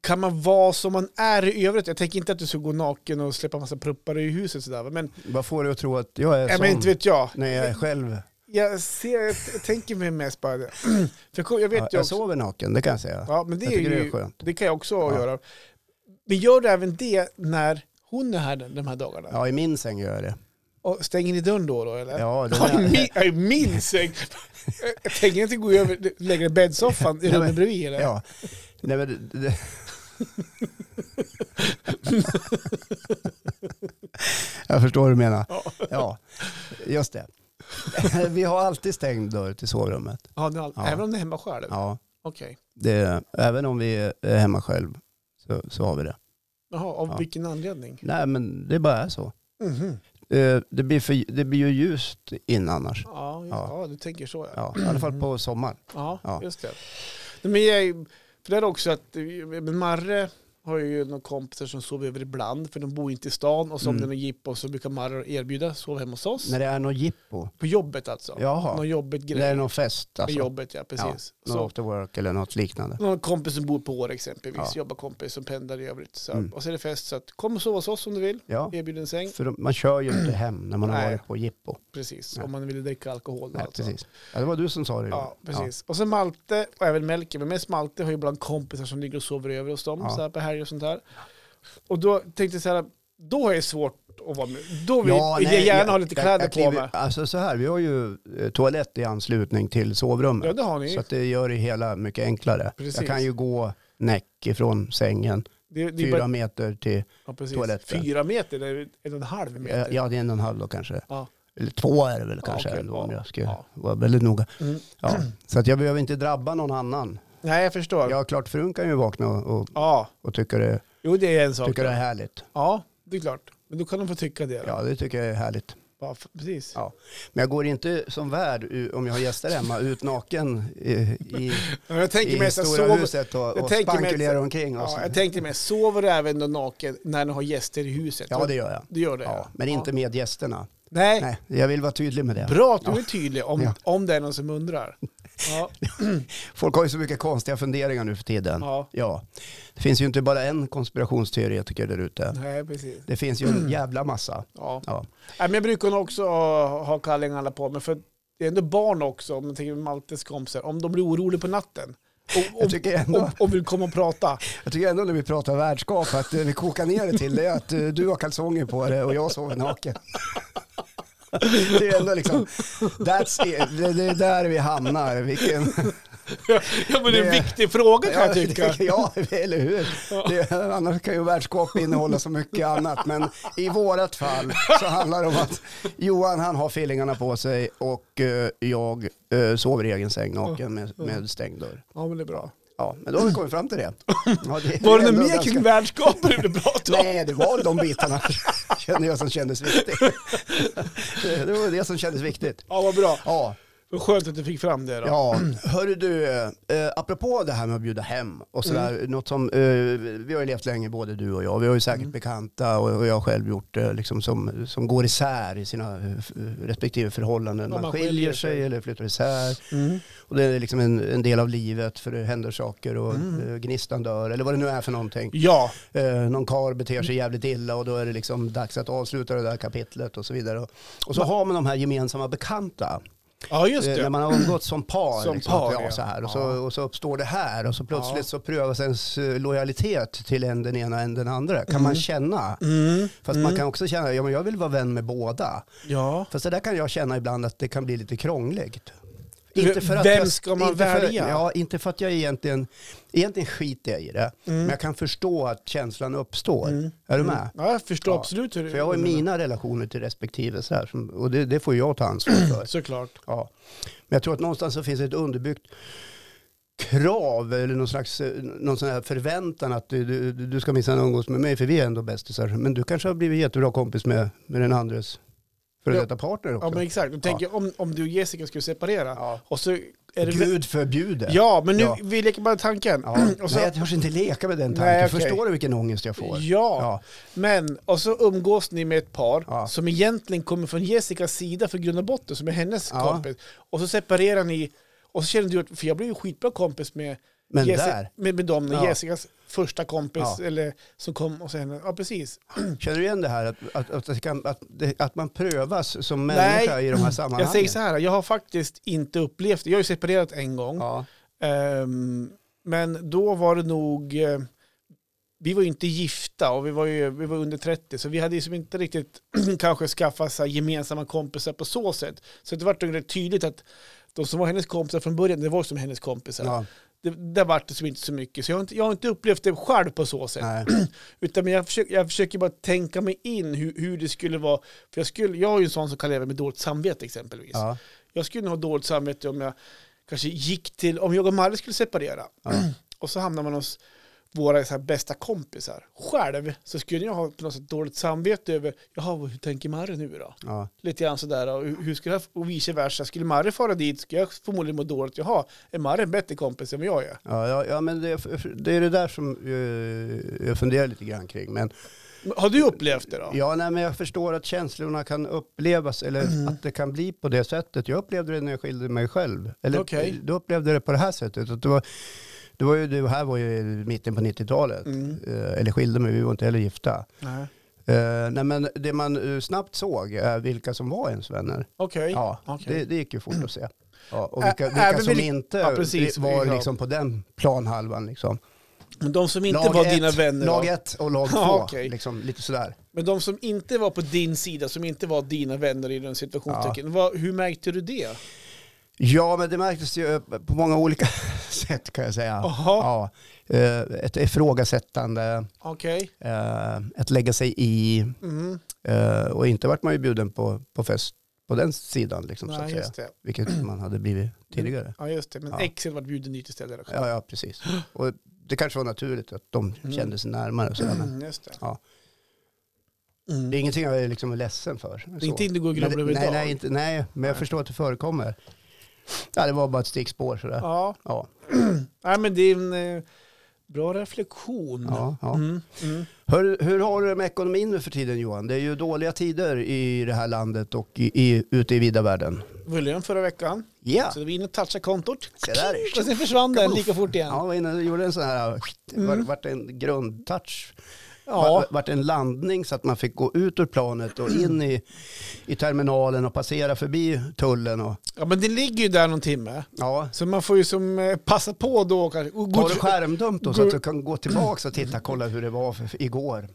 [SPEAKER 2] kan man vara som man är i övrigt? Jag tänker inte att du ska gå naken och släppa massa pluppar i huset sådär, va? men,
[SPEAKER 1] Vad får du att tro att jag är
[SPEAKER 2] äh,
[SPEAKER 1] sån?
[SPEAKER 2] men inte vet jag.
[SPEAKER 1] När jag är själv.
[SPEAKER 2] Jag, ser, jag, t- jag tänker mig mest bara det. (clears throat) För jag, kom- jag vet
[SPEAKER 1] Ja,
[SPEAKER 2] ju
[SPEAKER 1] jag
[SPEAKER 2] också,
[SPEAKER 1] sover naken, det kan jag säga.
[SPEAKER 2] ja, men det,
[SPEAKER 1] jag
[SPEAKER 2] är
[SPEAKER 1] tycker det
[SPEAKER 2] ju,
[SPEAKER 1] är skönt.
[SPEAKER 2] det kan jag också
[SPEAKER 1] Ja.
[SPEAKER 2] göra. Men gör du även det när hon är här de de här dagarna?
[SPEAKER 1] Ja, i min säng gör jag det.
[SPEAKER 2] Och stänger ni dörren då? då eller? (laughs)
[SPEAKER 1] Ja, den
[SPEAKER 2] Ja, i
[SPEAKER 1] är,
[SPEAKER 2] min, ja, i min säng! Jag tänker inte gå över, lägga bäddsoffan i
[SPEAKER 1] Ja, men-
[SPEAKER 2] rummet bredvid eller?
[SPEAKER 1] ja. Nej, men det, det. jag förstår vad du menar.
[SPEAKER 2] Ja.
[SPEAKER 1] Ja, just det. (laughs) Vi har alltid stängd dörr till sovrummet.
[SPEAKER 2] Ja, det är all...
[SPEAKER 1] Ja.
[SPEAKER 2] Även om det är hemma själv?
[SPEAKER 1] Ja,
[SPEAKER 2] Okej.
[SPEAKER 1] det, även om vi är hemma själv så, så har vi det.
[SPEAKER 2] Jaha, av
[SPEAKER 1] Ja.
[SPEAKER 2] vilken anledning?
[SPEAKER 1] Nej, men det bara är så.
[SPEAKER 2] Mhm.
[SPEAKER 1] Eh, Det blir, för, det blir ju ljust in annars.
[SPEAKER 2] Ja, just, ja.
[SPEAKER 1] Ja.
[SPEAKER 2] du tänker så. Ja,
[SPEAKER 1] Ja, I alla fall på sommaren.
[SPEAKER 2] (clears throat) ja,
[SPEAKER 1] Ja.
[SPEAKER 2] just det. Nej, Men jag, för det är också att eh, men Marre har ju några kompisar som sover över ibland, för de bor inte i stan. Och så om
[SPEAKER 1] Mm.
[SPEAKER 2] det är någon jippo så brukar Marre erbjuda sova hemma hos oss.
[SPEAKER 1] När det är något jippo.
[SPEAKER 2] På jobbet alltså.
[SPEAKER 1] Jaha,
[SPEAKER 2] Någon jobbigt grej.
[SPEAKER 1] det är någon fest
[SPEAKER 2] På
[SPEAKER 1] alltså.
[SPEAKER 2] jobbet, ja precis.
[SPEAKER 1] Någon
[SPEAKER 2] så,
[SPEAKER 1] after work eller något liknande.
[SPEAKER 2] någon kompis som bor på Åre exempelvis,
[SPEAKER 1] Ja.
[SPEAKER 2] jobbarkompis som pendlar i övrigt. Så.
[SPEAKER 1] Mm.
[SPEAKER 2] Och så är det fest, så att, kom och sova hos oss om du vill.
[SPEAKER 1] Ja,
[SPEAKER 2] Erbjud en säng,
[SPEAKER 1] för man kör ju inte hem när man har
[SPEAKER 2] Nej.
[SPEAKER 1] varit på jippo.
[SPEAKER 2] precis.
[SPEAKER 1] Ja.
[SPEAKER 2] Om man vill dricka alkohol. då
[SPEAKER 1] Nej,
[SPEAKER 2] alltså.
[SPEAKER 1] precis. Ja, det var du som sa det.
[SPEAKER 2] Ja, precis. Och sen Malte, och även Melker, men mest Malte har ju ibland kompisar som ligger och sover över hos dem
[SPEAKER 1] Ja.
[SPEAKER 2] så här på helger och sånt där. Och då tänkte jag så här, då är det svårt att vara med. Då vill
[SPEAKER 1] Ja,
[SPEAKER 2] jag
[SPEAKER 1] nej,
[SPEAKER 2] gärna ha lite
[SPEAKER 1] jag-
[SPEAKER 2] kläder
[SPEAKER 1] jag
[SPEAKER 2] på
[SPEAKER 1] kliver-
[SPEAKER 2] mig.
[SPEAKER 1] Alltså så här, vi har ju eh, toalett i anslutning till sovrummet.
[SPEAKER 2] Ja, det har ni.
[SPEAKER 1] Så att det gör det hela mycket enklare.
[SPEAKER 2] Precis.
[SPEAKER 1] Jag kan ju gå näck ifrån sängen,
[SPEAKER 2] det, det är
[SPEAKER 1] fyra
[SPEAKER 2] bara,
[SPEAKER 1] meter till,
[SPEAKER 2] ja, precis.
[SPEAKER 1] toaletten.
[SPEAKER 2] Fyra meter, det är en och en halv
[SPEAKER 1] eh,
[SPEAKER 2] meter.
[SPEAKER 1] ja det är en och en halv då kanske.
[SPEAKER 2] Ja.
[SPEAKER 1] Eller två är det väl
[SPEAKER 2] Ja,
[SPEAKER 1] kanske
[SPEAKER 2] okej.
[SPEAKER 1] ändå om
[SPEAKER 2] Ja,
[SPEAKER 1] jag ska
[SPEAKER 2] ja.
[SPEAKER 1] vara väldigt noga.
[SPEAKER 2] Mm.
[SPEAKER 1] Ja. Så att jag behöver inte drabba någon annan.
[SPEAKER 2] Nej, jag förstår. Ja.
[SPEAKER 1] Ja, klart frun kan ju vakna och, och, och tycka, det,
[SPEAKER 2] jo det är en sak.
[SPEAKER 1] tycka det är härligt.
[SPEAKER 2] Ja, det är klart. Men då kan de få tycka det. Då.
[SPEAKER 1] Ja,
[SPEAKER 2] Ja.
[SPEAKER 1] det tycker jag är härligt.
[SPEAKER 2] f- precis.
[SPEAKER 1] Ja. Men jag går inte som värd, u- om jag har gäster hemma, ut naken i, i,
[SPEAKER 2] Ja, jag tänker
[SPEAKER 1] i
[SPEAKER 2] mig så här,
[SPEAKER 1] stora
[SPEAKER 2] sover,
[SPEAKER 1] huset och,
[SPEAKER 2] jag
[SPEAKER 1] och
[SPEAKER 2] tänker mig att-
[SPEAKER 1] spankulerar omkring. Och
[SPEAKER 2] ja,
[SPEAKER 1] ja,
[SPEAKER 2] jag tänkte mig, sover du även då naken när du har gäster i huset?
[SPEAKER 1] ja, det gör jag.
[SPEAKER 2] Du gör det?
[SPEAKER 1] Ja, men inte med gästerna.
[SPEAKER 2] Nej.
[SPEAKER 1] Nej, jag vill vara tydlig med det.
[SPEAKER 2] Bra att du är tydlig om,
[SPEAKER 1] Ja.
[SPEAKER 2] om det är någon som undrar. (laughs) Ja,
[SPEAKER 1] Folk har ju så mycket konstiga funderingar nu för tiden.
[SPEAKER 2] ja.
[SPEAKER 1] Ja, det finns ju inte bara en konspirationsteoretiker där ute.
[SPEAKER 2] Nej, Mm. precis.
[SPEAKER 1] Det finns ju en jävla massa.
[SPEAKER 2] Ja.
[SPEAKER 1] Ja.
[SPEAKER 2] Nej, men jag brukar nog också ha ha kallingarna på mig, för det är ändå barn också, om man tänker på Maltes kompisar, om de blir oroliga på natten och,
[SPEAKER 1] Jag
[SPEAKER 2] och,
[SPEAKER 1] tycker ändå
[SPEAKER 2] och, och vill komma och prata.
[SPEAKER 1] Jag tycker ändå när vi pratar värdskap att eh, vi kokar ner det till det är att eh, du har kalsonger på dig och jag sover naken. Det är ändå liksom, that's it. Det, det är där vi hamnar. Vilken,
[SPEAKER 2] (laughs) Ja, men det är en
[SPEAKER 1] Det-
[SPEAKER 2] viktig fråga kan jag
[SPEAKER 1] Ja,
[SPEAKER 2] tycka.
[SPEAKER 1] det- (laughs) ja, eller hur? Det, annars kan ju värdskap innehålla så mycket annat. Men i vårat fall så handlar det om att Johan han har fillingarna på sig och eh, jag eh, sover i egen säng naken med, med stängd dörr.
[SPEAKER 2] Ja, men det är bra.
[SPEAKER 1] Ja, men då har vi kommit fram till det. Ja, det
[SPEAKER 2] Var
[SPEAKER 1] det är
[SPEAKER 2] det något
[SPEAKER 1] ändå
[SPEAKER 2] mer
[SPEAKER 1] ganska-
[SPEAKER 2] kring värdskap du ville prata om?
[SPEAKER 1] (laughs) Nej, det var de bitarna (laughs) känner jag som kändes viktigt. Det var det som kändes viktigt.
[SPEAKER 2] Ja, vad bra.
[SPEAKER 1] Ja,
[SPEAKER 2] Vad skönt att du fick fram det då.
[SPEAKER 1] ja. hörru du, eh, apropå det här med att bjuda hem och sådär, något som, eh, vi har ju levt länge både du och jag, vi har ju säkert bekanta och, och jag har själv gjort det, liksom som, som går isär i sina eh, f- respektive förhållanden.
[SPEAKER 2] Ja,
[SPEAKER 1] man,
[SPEAKER 2] man
[SPEAKER 1] skiljer,
[SPEAKER 2] skiljer
[SPEAKER 1] sig,
[SPEAKER 2] sig.
[SPEAKER 1] eller flyttar isär
[SPEAKER 2] Mm.
[SPEAKER 1] och det är liksom en, en del av livet för det händer saker och
[SPEAKER 2] Mm.
[SPEAKER 1] eh, gnistan dör eller vad det nu är för någonting.
[SPEAKER 2] Ja,
[SPEAKER 1] Eh, någon kar beter sig jävligt illa och då är det liksom dags att avsluta det där kapitlet och så vidare. Och, och så har man de här gemensamma bekanta.
[SPEAKER 2] ja just
[SPEAKER 1] Eh, när
[SPEAKER 2] det.
[SPEAKER 1] man har umgåtts som par.
[SPEAKER 2] Som
[SPEAKER 1] liksom,
[SPEAKER 2] par,
[SPEAKER 1] att, ja,
[SPEAKER 2] ja.
[SPEAKER 1] så här. Och, så,
[SPEAKER 2] Ja.
[SPEAKER 1] och så uppstår det här och så plötsligt
[SPEAKER 2] Ja.
[SPEAKER 1] så prövas ens eh, lojalitet till en den ena än den andra. Kan man känna.
[SPEAKER 2] Mm.
[SPEAKER 1] Fast man kan också känna, ja men jag vill vara vän med båda.
[SPEAKER 2] Ja.
[SPEAKER 1] Fast det där kan jag känna ibland att det kan bli lite krångligt.
[SPEAKER 2] V- vem ska man
[SPEAKER 1] inte för-
[SPEAKER 2] välja?
[SPEAKER 1] Ja, inte för att jag egentligen, egentligen skiter jag i det.
[SPEAKER 2] Mm.
[SPEAKER 1] Men jag kan förstå att känslan uppstår.
[SPEAKER 2] Mm.
[SPEAKER 1] Är du med?
[SPEAKER 2] Ja, jag förstår
[SPEAKER 1] Ja.
[SPEAKER 2] absolut hur det
[SPEAKER 1] För jag har ju mina relationer till respektive så här, som- och det, det får jag ta ansvar
[SPEAKER 2] (clears throat)
[SPEAKER 1] för.
[SPEAKER 2] Såklart.
[SPEAKER 1] Ja. Men jag tror att någonstans så finns ett underbyggt krav eller någon slags eh, någon sån här förväntan att du, du, du ska minsann umgås med mig för vi är ändå bästisar. Men du kanske har blivit jättebra kompis med, med den andres före
[SPEAKER 2] Ja.
[SPEAKER 1] detta partner också.
[SPEAKER 2] Ja, men exakt. Då tänker jag om, om du och Jessica skulle separera.
[SPEAKER 1] Ja.
[SPEAKER 2] Och så är det...
[SPEAKER 1] Gud förbjude.
[SPEAKER 2] Ja, men nu,
[SPEAKER 1] Ja.
[SPEAKER 2] vi leker bara tanken.
[SPEAKER 1] Ja.
[SPEAKER 2] (clears throat) Och så,
[SPEAKER 1] Nej, jag törs inte leka med den tanken.
[SPEAKER 2] Nej, okej.
[SPEAKER 1] Förstår du vilken ångest jag får?
[SPEAKER 2] ja,
[SPEAKER 1] Ja.
[SPEAKER 2] men och så umgås ni med ett par
[SPEAKER 1] Ja.
[SPEAKER 2] som egentligen kommer från Jessicas sida för grund och botten, som är hennes
[SPEAKER 1] Ja.
[SPEAKER 2] kompis. Och så separerar ni, och så känner du att, för jag blev ju skitbra kompis med,
[SPEAKER 1] Men
[SPEAKER 2] Jessi-
[SPEAKER 1] där,
[SPEAKER 2] med, med dem, när
[SPEAKER 1] Ja.
[SPEAKER 2] Jessicas första kompis,
[SPEAKER 1] Ja.
[SPEAKER 2] eller som kom och sen, ja precis.
[SPEAKER 1] känner du igen det här att, att, att, det kan, att, det, att man prövas som
[SPEAKER 2] Nej.
[SPEAKER 1] människa i de här sammanhangen?
[SPEAKER 2] Jag säger så här, jag har faktiskt inte upplevt det. Jag har ju separerat en gång.
[SPEAKER 1] Ja.
[SPEAKER 2] Ehm, men då var det nog, eh, vi var ju inte gifta och vi var, ju, vi var under 30 så vi hade liksom inte riktigt (clears throat) kanske skaffat så här gemensamma kompisar på så sätt. Så det var rätt tydligt att de som var hennes kompisar från början, det var som hennes kompisar.
[SPEAKER 1] Ja,
[SPEAKER 2] Det, där var det som inte så mycket. Så jag har inte, jag har inte upplevt det själv på så sätt.
[SPEAKER 1] nej.
[SPEAKER 2] Utan men jag, försöker, jag försöker bara tänka mig in hur, hur det skulle vara. För jag, skulle, jag är ju en sån som kan leva med dåligt samvete exempelvis.
[SPEAKER 1] Ja.
[SPEAKER 2] Jag skulle nog ha dåligt samvete om jag kanske gick till, om jag (clears throat) och Marre skulle separera.
[SPEAKER 1] Ja.
[SPEAKER 2] Och så hamnar man hos våra så här bästa kompisar själv så skulle jag ha på något sätt dåligt samvete över, jaha, vad- hur tänker Marre nu då?
[SPEAKER 1] Ja.
[SPEAKER 2] Lite grann sådär, och hur hur skulle jag, och vice versa, skulle Marre fara dit skulle jag förmodligen må dåligt, jaha, är Marre en bättre kompis än vad jag är?
[SPEAKER 1] Ja, ja, ja, men det, det är det där som eh, jag funderar lite grann kring. Men,
[SPEAKER 2] Men Har du upplevt det då?
[SPEAKER 1] ja, nej, men jag förstår att känslorna kan upplevas eller
[SPEAKER 2] Mm.
[SPEAKER 1] att det kan bli på det sättet. Jag upplevde det när jag skilde mig själv. Eller eh,
[SPEAKER 2] Okej.
[SPEAKER 1] då upplevde jag det på det här sättet. Att det, var, det, var ju, det här var ju mitten på 90-talet.
[SPEAKER 2] Mm.
[SPEAKER 1] Eh, eller skilde mig, vi var inte heller gifta.
[SPEAKER 2] Nej.
[SPEAKER 1] Eh, nej, men det man eh, snabbt såg är vilka som var ens vänner.
[SPEAKER 2] Okej.
[SPEAKER 1] Ja,
[SPEAKER 2] Okej.
[SPEAKER 1] det, det gick ju fort att se. Ja, och
[SPEAKER 2] Ä-
[SPEAKER 1] vilka, vilka
[SPEAKER 2] även
[SPEAKER 1] som
[SPEAKER 2] vil-
[SPEAKER 1] inte
[SPEAKER 2] ja, precis.
[SPEAKER 1] var
[SPEAKER 2] Ja.
[SPEAKER 1] liksom på den planhalvan. Liksom.
[SPEAKER 2] Men de som inte
[SPEAKER 1] Lag
[SPEAKER 2] var
[SPEAKER 1] ett,
[SPEAKER 2] dina vänner
[SPEAKER 1] Lag
[SPEAKER 2] då?
[SPEAKER 1] ett och lag två.
[SPEAKER 2] (laughs) Ja, okej.
[SPEAKER 1] liksom, lite sådär.
[SPEAKER 2] Men de som inte var på din sida, som inte var dina vänner i den situationstecken, vad, hur märkte du det?
[SPEAKER 1] Ja, men det märktes ju eh, på många olika (laughs) sätt kan jag säga.
[SPEAKER 2] Jaha,
[SPEAKER 1] Ja, eh, ett ifrågasättande,
[SPEAKER 2] okej.
[SPEAKER 1] eh, ett lägga sig i
[SPEAKER 2] Mm.
[SPEAKER 1] eh, och inte vart man ju bjuden på, på fest på den sidan, liksom, så att
[SPEAKER 2] Nej,
[SPEAKER 1] säga.
[SPEAKER 2] just det.
[SPEAKER 1] vilket man hade
[SPEAKER 2] (clears throat)
[SPEAKER 1] blivit tidigare.
[SPEAKER 2] Ja, just det. Men
[SPEAKER 1] Ja.
[SPEAKER 2] exet var bjuden dit istället. Också.
[SPEAKER 1] Ja, ja precis. Och det kanske var naturligt att de
[SPEAKER 2] Mm.
[SPEAKER 1] kände sig närmare. Och sådär, men
[SPEAKER 2] Mm, just det.
[SPEAKER 1] Ja.
[SPEAKER 2] Mm.
[SPEAKER 1] det är ingenting jag är liksom ledsen för.
[SPEAKER 2] Det är inte in du går och
[SPEAKER 1] Men
[SPEAKER 2] grubblar
[SPEAKER 1] det-
[SPEAKER 2] över
[SPEAKER 1] nej,
[SPEAKER 2] idag.
[SPEAKER 1] nej, inte, nej, men jag
[SPEAKER 2] Nej.
[SPEAKER 1] förstår att det förekommer. Ja, det var bara ett stickspår sådär.
[SPEAKER 2] Ja,
[SPEAKER 1] Ja,
[SPEAKER 2] nej, men det är en eh, bra reflektion.
[SPEAKER 1] ja, ja.
[SPEAKER 2] Mm. Mm.
[SPEAKER 1] Hur, hur har du det med ekonomin nu för tiden Johan? Det är ju dåliga tider i det här landet och i, i, ute i vida världen.
[SPEAKER 2] Det var lön förra veckan,
[SPEAKER 1] Ja,
[SPEAKER 2] så det var in och touchade kontot.
[SPEAKER 1] se där.
[SPEAKER 2] Och sen försvann den lika fort igen.
[SPEAKER 1] Ja, var inne och gjorde en sån här, var, vart en grundtouch
[SPEAKER 2] Mm. Ja.
[SPEAKER 1] vart en landning så att man fick gå ut ur planet och in i, i terminalen och passera förbi tullen. Och,
[SPEAKER 2] ja, men det ligger ju där någon timme.
[SPEAKER 1] ja.
[SPEAKER 2] Så man får ju som eh, passa på då kanske. Och gå
[SPEAKER 1] Har du
[SPEAKER 2] tr-
[SPEAKER 1] skärmdump då så att du kan gå tillbaka och titta, kolla hur det var för, igår?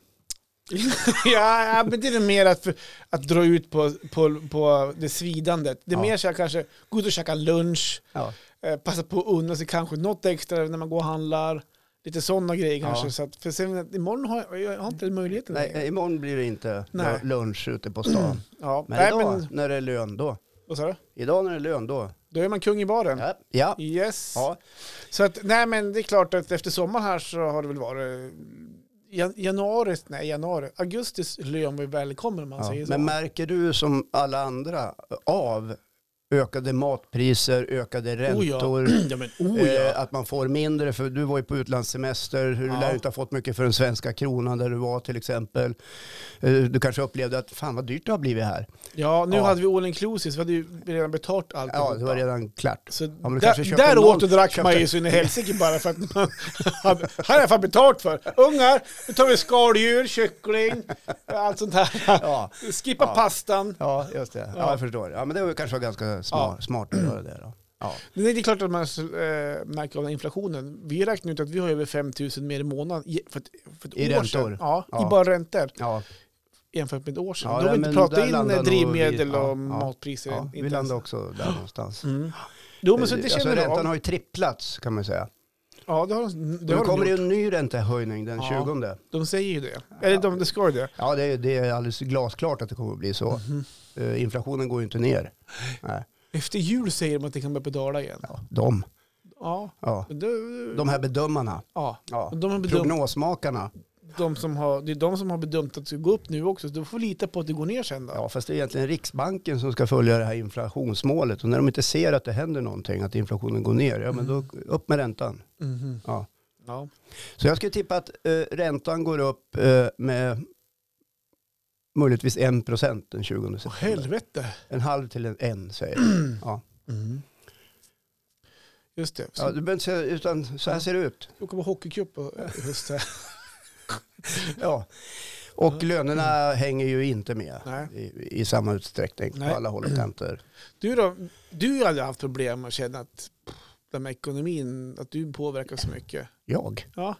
[SPEAKER 2] (laughs) ja, ja, men det är väl mer att, att dra ut på, på, på det svidandet. Det är
[SPEAKER 1] Ja.
[SPEAKER 2] mer så här kanske gå ut och käka lunch,
[SPEAKER 1] Ja.
[SPEAKER 2] eh, passa på att unna sig kanske något extra när man går och handlar. Lite sådana grejer
[SPEAKER 1] Ja.
[SPEAKER 2] kanske. Så att, för sen, imorgon har jag, jag har inte den möjligheten. längre.
[SPEAKER 1] Nej, imorgon blir det inte
[SPEAKER 2] Mm. Nej.
[SPEAKER 1] lunch ute på stan.
[SPEAKER 2] Ja.
[SPEAKER 1] Men
[SPEAKER 2] Nej,
[SPEAKER 1] idag
[SPEAKER 2] men
[SPEAKER 1] när det är lön då.
[SPEAKER 2] vad sa du?
[SPEAKER 1] Idag när det är lön då.
[SPEAKER 2] Då är man kung i baren.
[SPEAKER 1] Ja. ja.
[SPEAKER 2] Yes.
[SPEAKER 1] ja.
[SPEAKER 2] Så att, nej men det är klart att efter sommaren här så har det väl varit jan- januari, nej januari, augustis lön var ju välkommen om man
[SPEAKER 1] Ja.
[SPEAKER 2] säger så.
[SPEAKER 1] Men märker du som alla andra av ökade matpriser, ökade
[SPEAKER 2] Oh ja.
[SPEAKER 1] räntor?
[SPEAKER 2] ja, men, (clears throat) oh, ja.
[SPEAKER 1] Eh, att man får mindre, för du var ju på utlandssemester, du
[SPEAKER 2] Ja.
[SPEAKER 1] lär ju inte ha fått mycket för den svenska kronan där du var till exempel. Eh, Du kanske upplevde att fan vad dyrt det har blivit här.
[SPEAKER 2] Ja, nu
[SPEAKER 1] Ja.
[SPEAKER 2] hade vi all inclusive, så hade ju redan betalt allt.
[SPEAKER 1] Ja, det var redan klart.
[SPEAKER 2] Så
[SPEAKER 1] men du kanske
[SPEAKER 2] där,
[SPEAKER 1] köpte
[SPEAKER 2] där
[SPEAKER 1] någon-
[SPEAKER 2] åt och drack
[SPEAKER 1] köpte-
[SPEAKER 2] man ju så in i helsike bara för att man (laughs) hade, hade i alla fall betalt för. Ungar, nu tar vi skaldjur, kyckling, allt sånt här.
[SPEAKER 1] Ja,
[SPEAKER 2] Skippa
[SPEAKER 1] Ja.
[SPEAKER 2] pastan.
[SPEAKER 1] ja just det. Ja,
[SPEAKER 2] Ja.
[SPEAKER 1] jag förstår. Ja, men det var ju kanske ganska smart, smart att göra det då. Ja.
[SPEAKER 2] Nej, det är klart att man eh, märker av den inflationen. Vi räknar ut att vi har över 5 000 mer i månaden i- för ett, för ett
[SPEAKER 1] I
[SPEAKER 2] år
[SPEAKER 1] räntor?
[SPEAKER 2] sedan. Ja,
[SPEAKER 1] Ja.
[SPEAKER 2] I bara räntor
[SPEAKER 1] Ja,
[SPEAKER 2] jämfört med ett år sedan.
[SPEAKER 1] Ja,
[SPEAKER 2] Då har vi
[SPEAKER 1] nej,
[SPEAKER 2] inte
[SPEAKER 1] men där
[SPEAKER 2] pratat in
[SPEAKER 1] landar
[SPEAKER 2] eh,
[SPEAKER 1] nog
[SPEAKER 2] drivmedel
[SPEAKER 1] vi-
[SPEAKER 2] och
[SPEAKER 1] ja, ja.
[SPEAKER 2] matpriser.
[SPEAKER 1] ja,
[SPEAKER 2] Typ, inte
[SPEAKER 1] vi
[SPEAKER 2] ens.
[SPEAKER 1] landade också där någonstans.
[SPEAKER 2] Mm. Jo, men så det
[SPEAKER 1] Eh, alltså,
[SPEAKER 2] känner jag
[SPEAKER 1] räntan
[SPEAKER 2] av.
[SPEAKER 1] har ju tripplats kan man ju säga.
[SPEAKER 2] Ja, det har, de- det
[SPEAKER 1] Nu
[SPEAKER 2] har de
[SPEAKER 1] kommer det
[SPEAKER 2] gjort.
[SPEAKER 1] ju en ny räntehöjning den
[SPEAKER 2] Ja.
[SPEAKER 1] 20.
[SPEAKER 2] De säger ju det. Eller de, det ska ju det.
[SPEAKER 1] Ja, det är, det är alldeles glasklart att det kommer att bli så.
[SPEAKER 2] Mhm.
[SPEAKER 1] Eh, Inflationen går ju inte ner. Nej,
[SPEAKER 2] Efter jul säger de att det kan börja pedala igen.
[SPEAKER 1] ja, de.
[SPEAKER 2] Ja.
[SPEAKER 1] Ja.
[SPEAKER 2] men det-
[SPEAKER 1] De här bedömarna,
[SPEAKER 2] ja.
[SPEAKER 1] ja.
[SPEAKER 2] De, har bedömt,
[SPEAKER 1] prognosmakarna.
[SPEAKER 2] de som har, det är de som har bedömt att det ska gå upp nu också, så du får lita på att det går ner sen då.
[SPEAKER 1] Ja, fast det är egentligen Riksbanken som ska följa det här inflationsmålet. Och när de inte ser att det händer någonting, att inflationen går ner, ja
[SPEAKER 2] Mm.
[SPEAKER 1] men då upp med räntan.
[SPEAKER 2] Mhm.
[SPEAKER 1] Ja.
[SPEAKER 2] Ja.
[SPEAKER 1] Så jag skulle tippa att eh, räntan går upp eh, med möjligtvis 1 procent den 20
[SPEAKER 2] Åh,
[SPEAKER 1] september.
[SPEAKER 2] helvete.
[SPEAKER 1] en halv till en, en säger
[SPEAKER 2] Mm.
[SPEAKER 1] jag. Ja.
[SPEAKER 2] Mm-hmm. Just det. Så
[SPEAKER 1] Ja, du behöver inte säga, utan så här ser det ut.
[SPEAKER 2] Då kommer hockeycup och just det.
[SPEAKER 1] Ja. Och lönerna hänger ju inte med
[SPEAKER 2] Mm. Nej.
[SPEAKER 1] i, i samma utsträckning
[SPEAKER 2] Nej.
[SPEAKER 1] på alla håll och kanter.
[SPEAKER 2] Du då? Du har ju aldrig haft problem med att känna att pff, den med ekonomin, att du påverkar så mycket.
[SPEAKER 1] Jag?
[SPEAKER 2] Ja.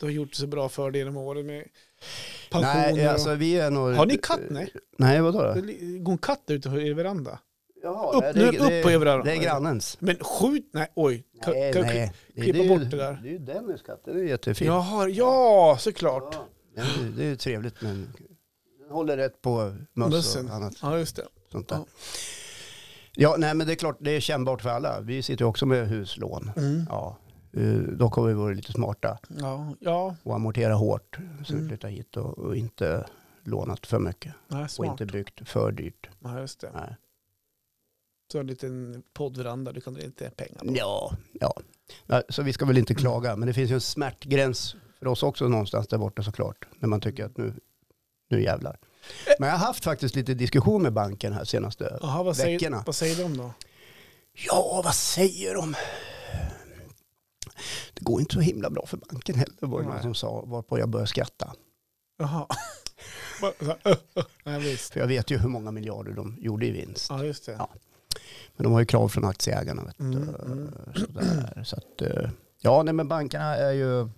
[SPEAKER 2] Du har gjort det så bra för dig genom åren med pensioner.
[SPEAKER 1] Nej,
[SPEAKER 2] och-
[SPEAKER 1] alltså vi är nog...
[SPEAKER 2] Har ni katt? Nej.
[SPEAKER 1] Nej, vadå
[SPEAKER 2] Det
[SPEAKER 1] då?
[SPEAKER 2] li- går en katt där ute i er veranda?
[SPEAKER 1] Jaha, nej,
[SPEAKER 2] Upp, nu, upp på er veranda.
[SPEAKER 1] Det är grannens.
[SPEAKER 2] Men skjut, nej oj. Kan,
[SPEAKER 1] Nej,
[SPEAKER 2] kan
[SPEAKER 1] nej.
[SPEAKER 2] Du klippa
[SPEAKER 1] är ju-
[SPEAKER 2] bort det där.
[SPEAKER 1] Det är ju Dennis katt, den är ju jättefin.
[SPEAKER 2] Jaha, ja såklart.
[SPEAKER 1] Ja, den är ju- Det är ju trevligt men den håller rätt på möss och
[SPEAKER 2] Mössen.
[SPEAKER 1] annat
[SPEAKER 2] Ja just det.
[SPEAKER 1] sånt där.
[SPEAKER 2] Ja.
[SPEAKER 1] Ja. nej men det är klart, det är kännbart för alla. Vi sitter ju också med huslån.
[SPEAKER 2] Mm.
[SPEAKER 1] Ja, Eh, Dock har vi varit lite smarta
[SPEAKER 2] Ja, ja
[SPEAKER 1] och amorterat hårt. Så vi
[SPEAKER 2] Mm.
[SPEAKER 1] flyttade hit och, och inte lånat för mycket.
[SPEAKER 2] nej,
[SPEAKER 1] Och
[SPEAKER 2] smart.
[SPEAKER 1] inte byggt för dyrt.
[SPEAKER 2] Ja, just det.
[SPEAKER 1] Nej.
[SPEAKER 2] Så en liten poddveranda, du kan dra in lite pengar på.
[SPEAKER 1] Ja, ja. Nej, Så vi ska väl inte klaga. Men det finns ju en smärtgräns för oss också någonstans där borta såklart. När man tycker att nu, nu jävlar. Men jag har haft faktiskt lite diskussion med banken här senaste
[SPEAKER 2] Jaha, vad säger,
[SPEAKER 1] Veckorna.
[SPEAKER 2] vad säger de då?
[SPEAKER 1] Ja, vad säger de? Det går inte så himla bra för banken heller, var det någon
[SPEAKER 2] Nej.
[SPEAKER 1] som sa, varpå jag började skratta. (laughs)
[SPEAKER 2] Jaha. Bara så här, nej, visst.
[SPEAKER 1] För jag vet ju hur många miljarder de gjorde i vinst.
[SPEAKER 2] Ja, just det.
[SPEAKER 1] Ja. Men de har ju krav från aktieägarna. Vet du. eh,
[SPEAKER 2] Mm, mm.
[SPEAKER 1] Sådär. Så att, eh, ja, nej, men bankerna är ju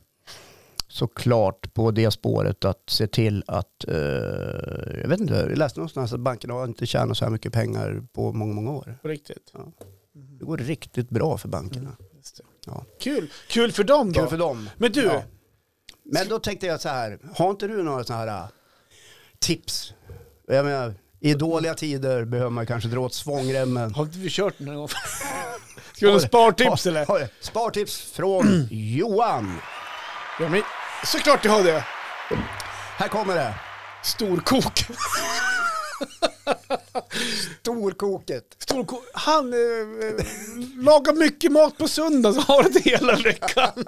[SPEAKER 1] såklart på det spåret att se till att, eh, jag vet inte, jag läste någonstans att bankerna har inte tjänat så här mycket pengar på många, många år.
[SPEAKER 2] På riktigt.
[SPEAKER 1] Ja.
[SPEAKER 2] Mm.
[SPEAKER 1] Det går riktigt bra för bankerna.
[SPEAKER 2] Just det.
[SPEAKER 1] Ja.
[SPEAKER 2] Kul. Mm. Kul för dem då.
[SPEAKER 1] Kul för dem.
[SPEAKER 2] Men du,
[SPEAKER 1] Ja. Men då tänkte jag så här, har inte du några sådana här äh, tips? Jag menar, i dåliga tider behöver man kanske dra åt svångremmen.
[SPEAKER 2] har inte vi kört den
[SPEAKER 1] (laughs)
[SPEAKER 2] här gången? Ska du ha spartips eller?
[SPEAKER 1] Har- har- Spartips från
[SPEAKER 2] (clears throat)
[SPEAKER 1] Johan.
[SPEAKER 2] Ja, men såklart jag har det.
[SPEAKER 1] Här kommer det.
[SPEAKER 2] Storkok.
[SPEAKER 1] Storkoket.
[SPEAKER 2] Storkok. Han eh, lagar mycket mat på söndag så har han det hela
[SPEAKER 1] (laughs)
[SPEAKER 2] veckan.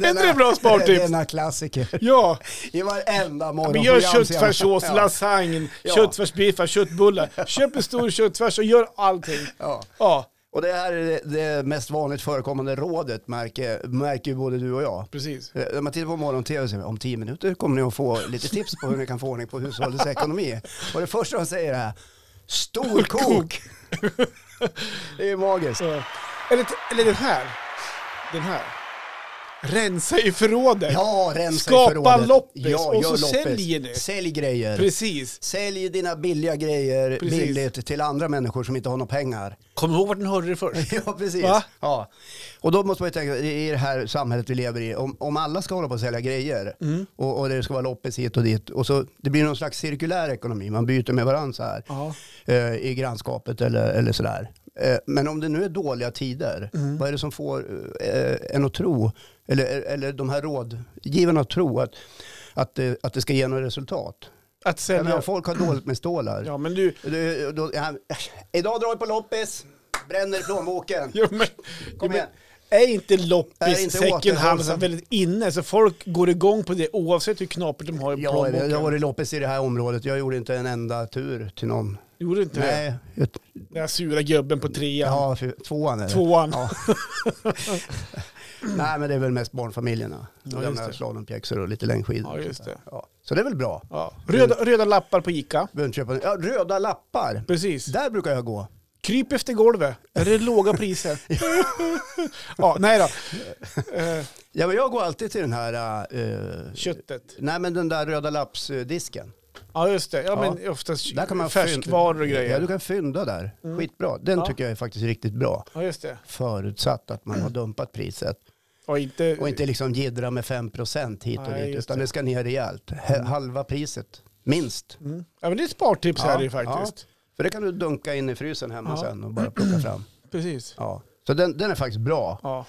[SPEAKER 2] Är inte det bra
[SPEAKER 1] Det är
[SPEAKER 2] spartips?
[SPEAKER 1] denna klassiker.
[SPEAKER 2] Ja,
[SPEAKER 1] I varenda
[SPEAKER 2] vi
[SPEAKER 1] morgonprogram.
[SPEAKER 2] gör
[SPEAKER 1] ser jag.
[SPEAKER 2] köttfärssås,
[SPEAKER 1] Ja,
[SPEAKER 2] lasagne,
[SPEAKER 1] Ja.
[SPEAKER 2] köttfärsbiffar, köttbullar. Köp en stor köttfärs och gör allting.
[SPEAKER 1] Ja.
[SPEAKER 2] Ja,
[SPEAKER 1] Och det här är det- det mest vanligt förekommande rådet märker, märker ju både du och jag.
[SPEAKER 2] precis.
[SPEAKER 1] Eh, När man tittar på morgon-tv säger man, om tio minuter kommer ni att få lite tips på hur ni kan få ordning på
[SPEAKER 2] (laughs)
[SPEAKER 1] hushållets ekonomi. Och det första de säger är storkok. det är magiskt.
[SPEAKER 2] Ja. Eller, eller den här. Den här. Rensa i förrådet.
[SPEAKER 1] Ja, rensa i
[SPEAKER 2] Skapa
[SPEAKER 1] förrådet.
[SPEAKER 2] loppis och
[SPEAKER 1] gör
[SPEAKER 2] så säljer ni.
[SPEAKER 1] Sälj grejer.
[SPEAKER 2] Precis.
[SPEAKER 1] Sälj dina billiga grejer
[SPEAKER 2] Precis.
[SPEAKER 1] billigt till andra människor som inte har några pengar.
[SPEAKER 2] Kom ihåg vart ni hörde det
[SPEAKER 1] (laughs)
[SPEAKER 2] först.
[SPEAKER 1] ja, precis.
[SPEAKER 2] Va?
[SPEAKER 1] Ja. Och då måste man ju tänka, i i det här samhället vi lever i, om, om alla ska hålla på och sälja grejer
[SPEAKER 2] Mm.
[SPEAKER 1] och, och det ska vara loppis hit och dit, och så, det blir någon slags cirkulär ekonomi, man byter med varandra så här
[SPEAKER 2] Ja.
[SPEAKER 1] eh, i grannskapet eller, eller sådär. Eh, men om det nu är dåliga tider,
[SPEAKER 2] Mm.
[SPEAKER 1] vad är det som får eh, en att tro, eller, eller de här rådgivarna att tro att, att, det- att det ska ge något resultat?
[SPEAKER 2] Att
[SPEAKER 1] Jag menar,
[SPEAKER 2] sälja.
[SPEAKER 1] folk har dåligt med stålar.
[SPEAKER 2] Ja, men du.
[SPEAKER 1] Du, då, han, idag drar vi på loppis, bränner i plånboken.
[SPEAKER 2] Ja, men,
[SPEAKER 1] Kom
[SPEAKER 2] ja,
[SPEAKER 1] igen.
[SPEAKER 2] men, är inte
[SPEAKER 1] Är
[SPEAKER 2] loppis
[SPEAKER 1] inte
[SPEAKER 2] second hand så
[SPEAKER 1] återhållsam.
[SPEAKER 2] väldigt inne? Så folk går igång på det oavsett hur knapert de har i
[SPEAKER 1] Ja,
[SPEAKER 2] plånboken.
[SPEAKER 1] jag har varit loppis i det här området. Jag gjorde inte en enda tur till någon.
[SPEAKER 2] Gjorde inte det?
[SPEAKER 1] Nej, jag,
[SPEAKER 2] Den här sura gubben på trean.
[SPEAKER 1] ja, för, tvåan är det.
[SPEAKER 2] Tvåan. (laughs)
[SPEAKER 1] Ja. Nej, men det är väl mest barnfamiljerna.
[SPEAKER 2] Ja,
[SPEAKER 1] De
[SPEAKER 2] just
[SPEAKER 1] lämnar
[SPEAKER 2] det.
[SPEAKER 1] slalompjäxor och lite längdskidor.
[SPEAKER 2] Ja, just det.
[SPEAKER 1] Ja. Så det är väl bra.
[SPEAKER 2] Ja. Röda, röda lappar på Ica.
[SPEAKER 1] Behöver inte Köpa, ja, röda lappar.
[SPEAKER 2] Precis.
[SPEAKER 1] Där brukar jag gå.
[SPEAKER 2] Kryp efter golvet. Är det
[SPEAKER 1] (laughs)
[SPEAKER 2] låga priser? ja, nej då. Eh,
[SPEAKER 1] Ja, men jag går alltid till den här... eh,
[SPEAKER 2] köttet.
[SPEAKER 1] nej, men den där röda lappsdisken.
[SPEAKER 2] Ja, just det. Ja,
[SPEAKER 1] Ja.
[SPEAKER 2] men oftast
[SPEAKER 1] Där kan man
[SPEAKER 2] färskvaror
[SPEAKER 1] fynd- Ja,
[SPEAKER 2] och
[SPEAKER 1] du
[SPEAKER 2] grejer. Mm.
[SPEAKER 1] kan fynda där. Skitbra. Den
[SPEAKER 2] Ja.
[SPEAKER 1] tycker jag är faktiskt riktigt bra.
[SPEAKER 2] Ja, just det.
[SPEAKER 1] Förutsatt att man har dumpat priset.
[SPEAKER 2] Och inte...
[SPEAKER 1] Och inte liksom jiddra med 5% hit och
[SPEAKER 2] Nej,
[SPEAKER 1] dit.
[SPEAKER 2] just
[SPEAKER 1] Utan
[SPEAKER 2] det.
[SPEAKER 1] det ska ner rejält. H- Halva priset. Minst.
[SPEAKER 2] Mm. Ja, men det är ett spartips
[SPEAKER 1] Ja,
[SPEAKER 2] här ju faktiskt.
[SPEAKER 1] För det kan du dunka in i frysen hemma
[SPEAKER 2] Ja.
[SPEAKER 1] sen och bara plocka
[SPEAKER 2] (clears throat)
[SPEAKER 1] fram.
[SPEAKER 2] Precis.
[SPEAKER 1] Ja. Så den, den är faktiskt bra.
[SPEAKER 2] Ja.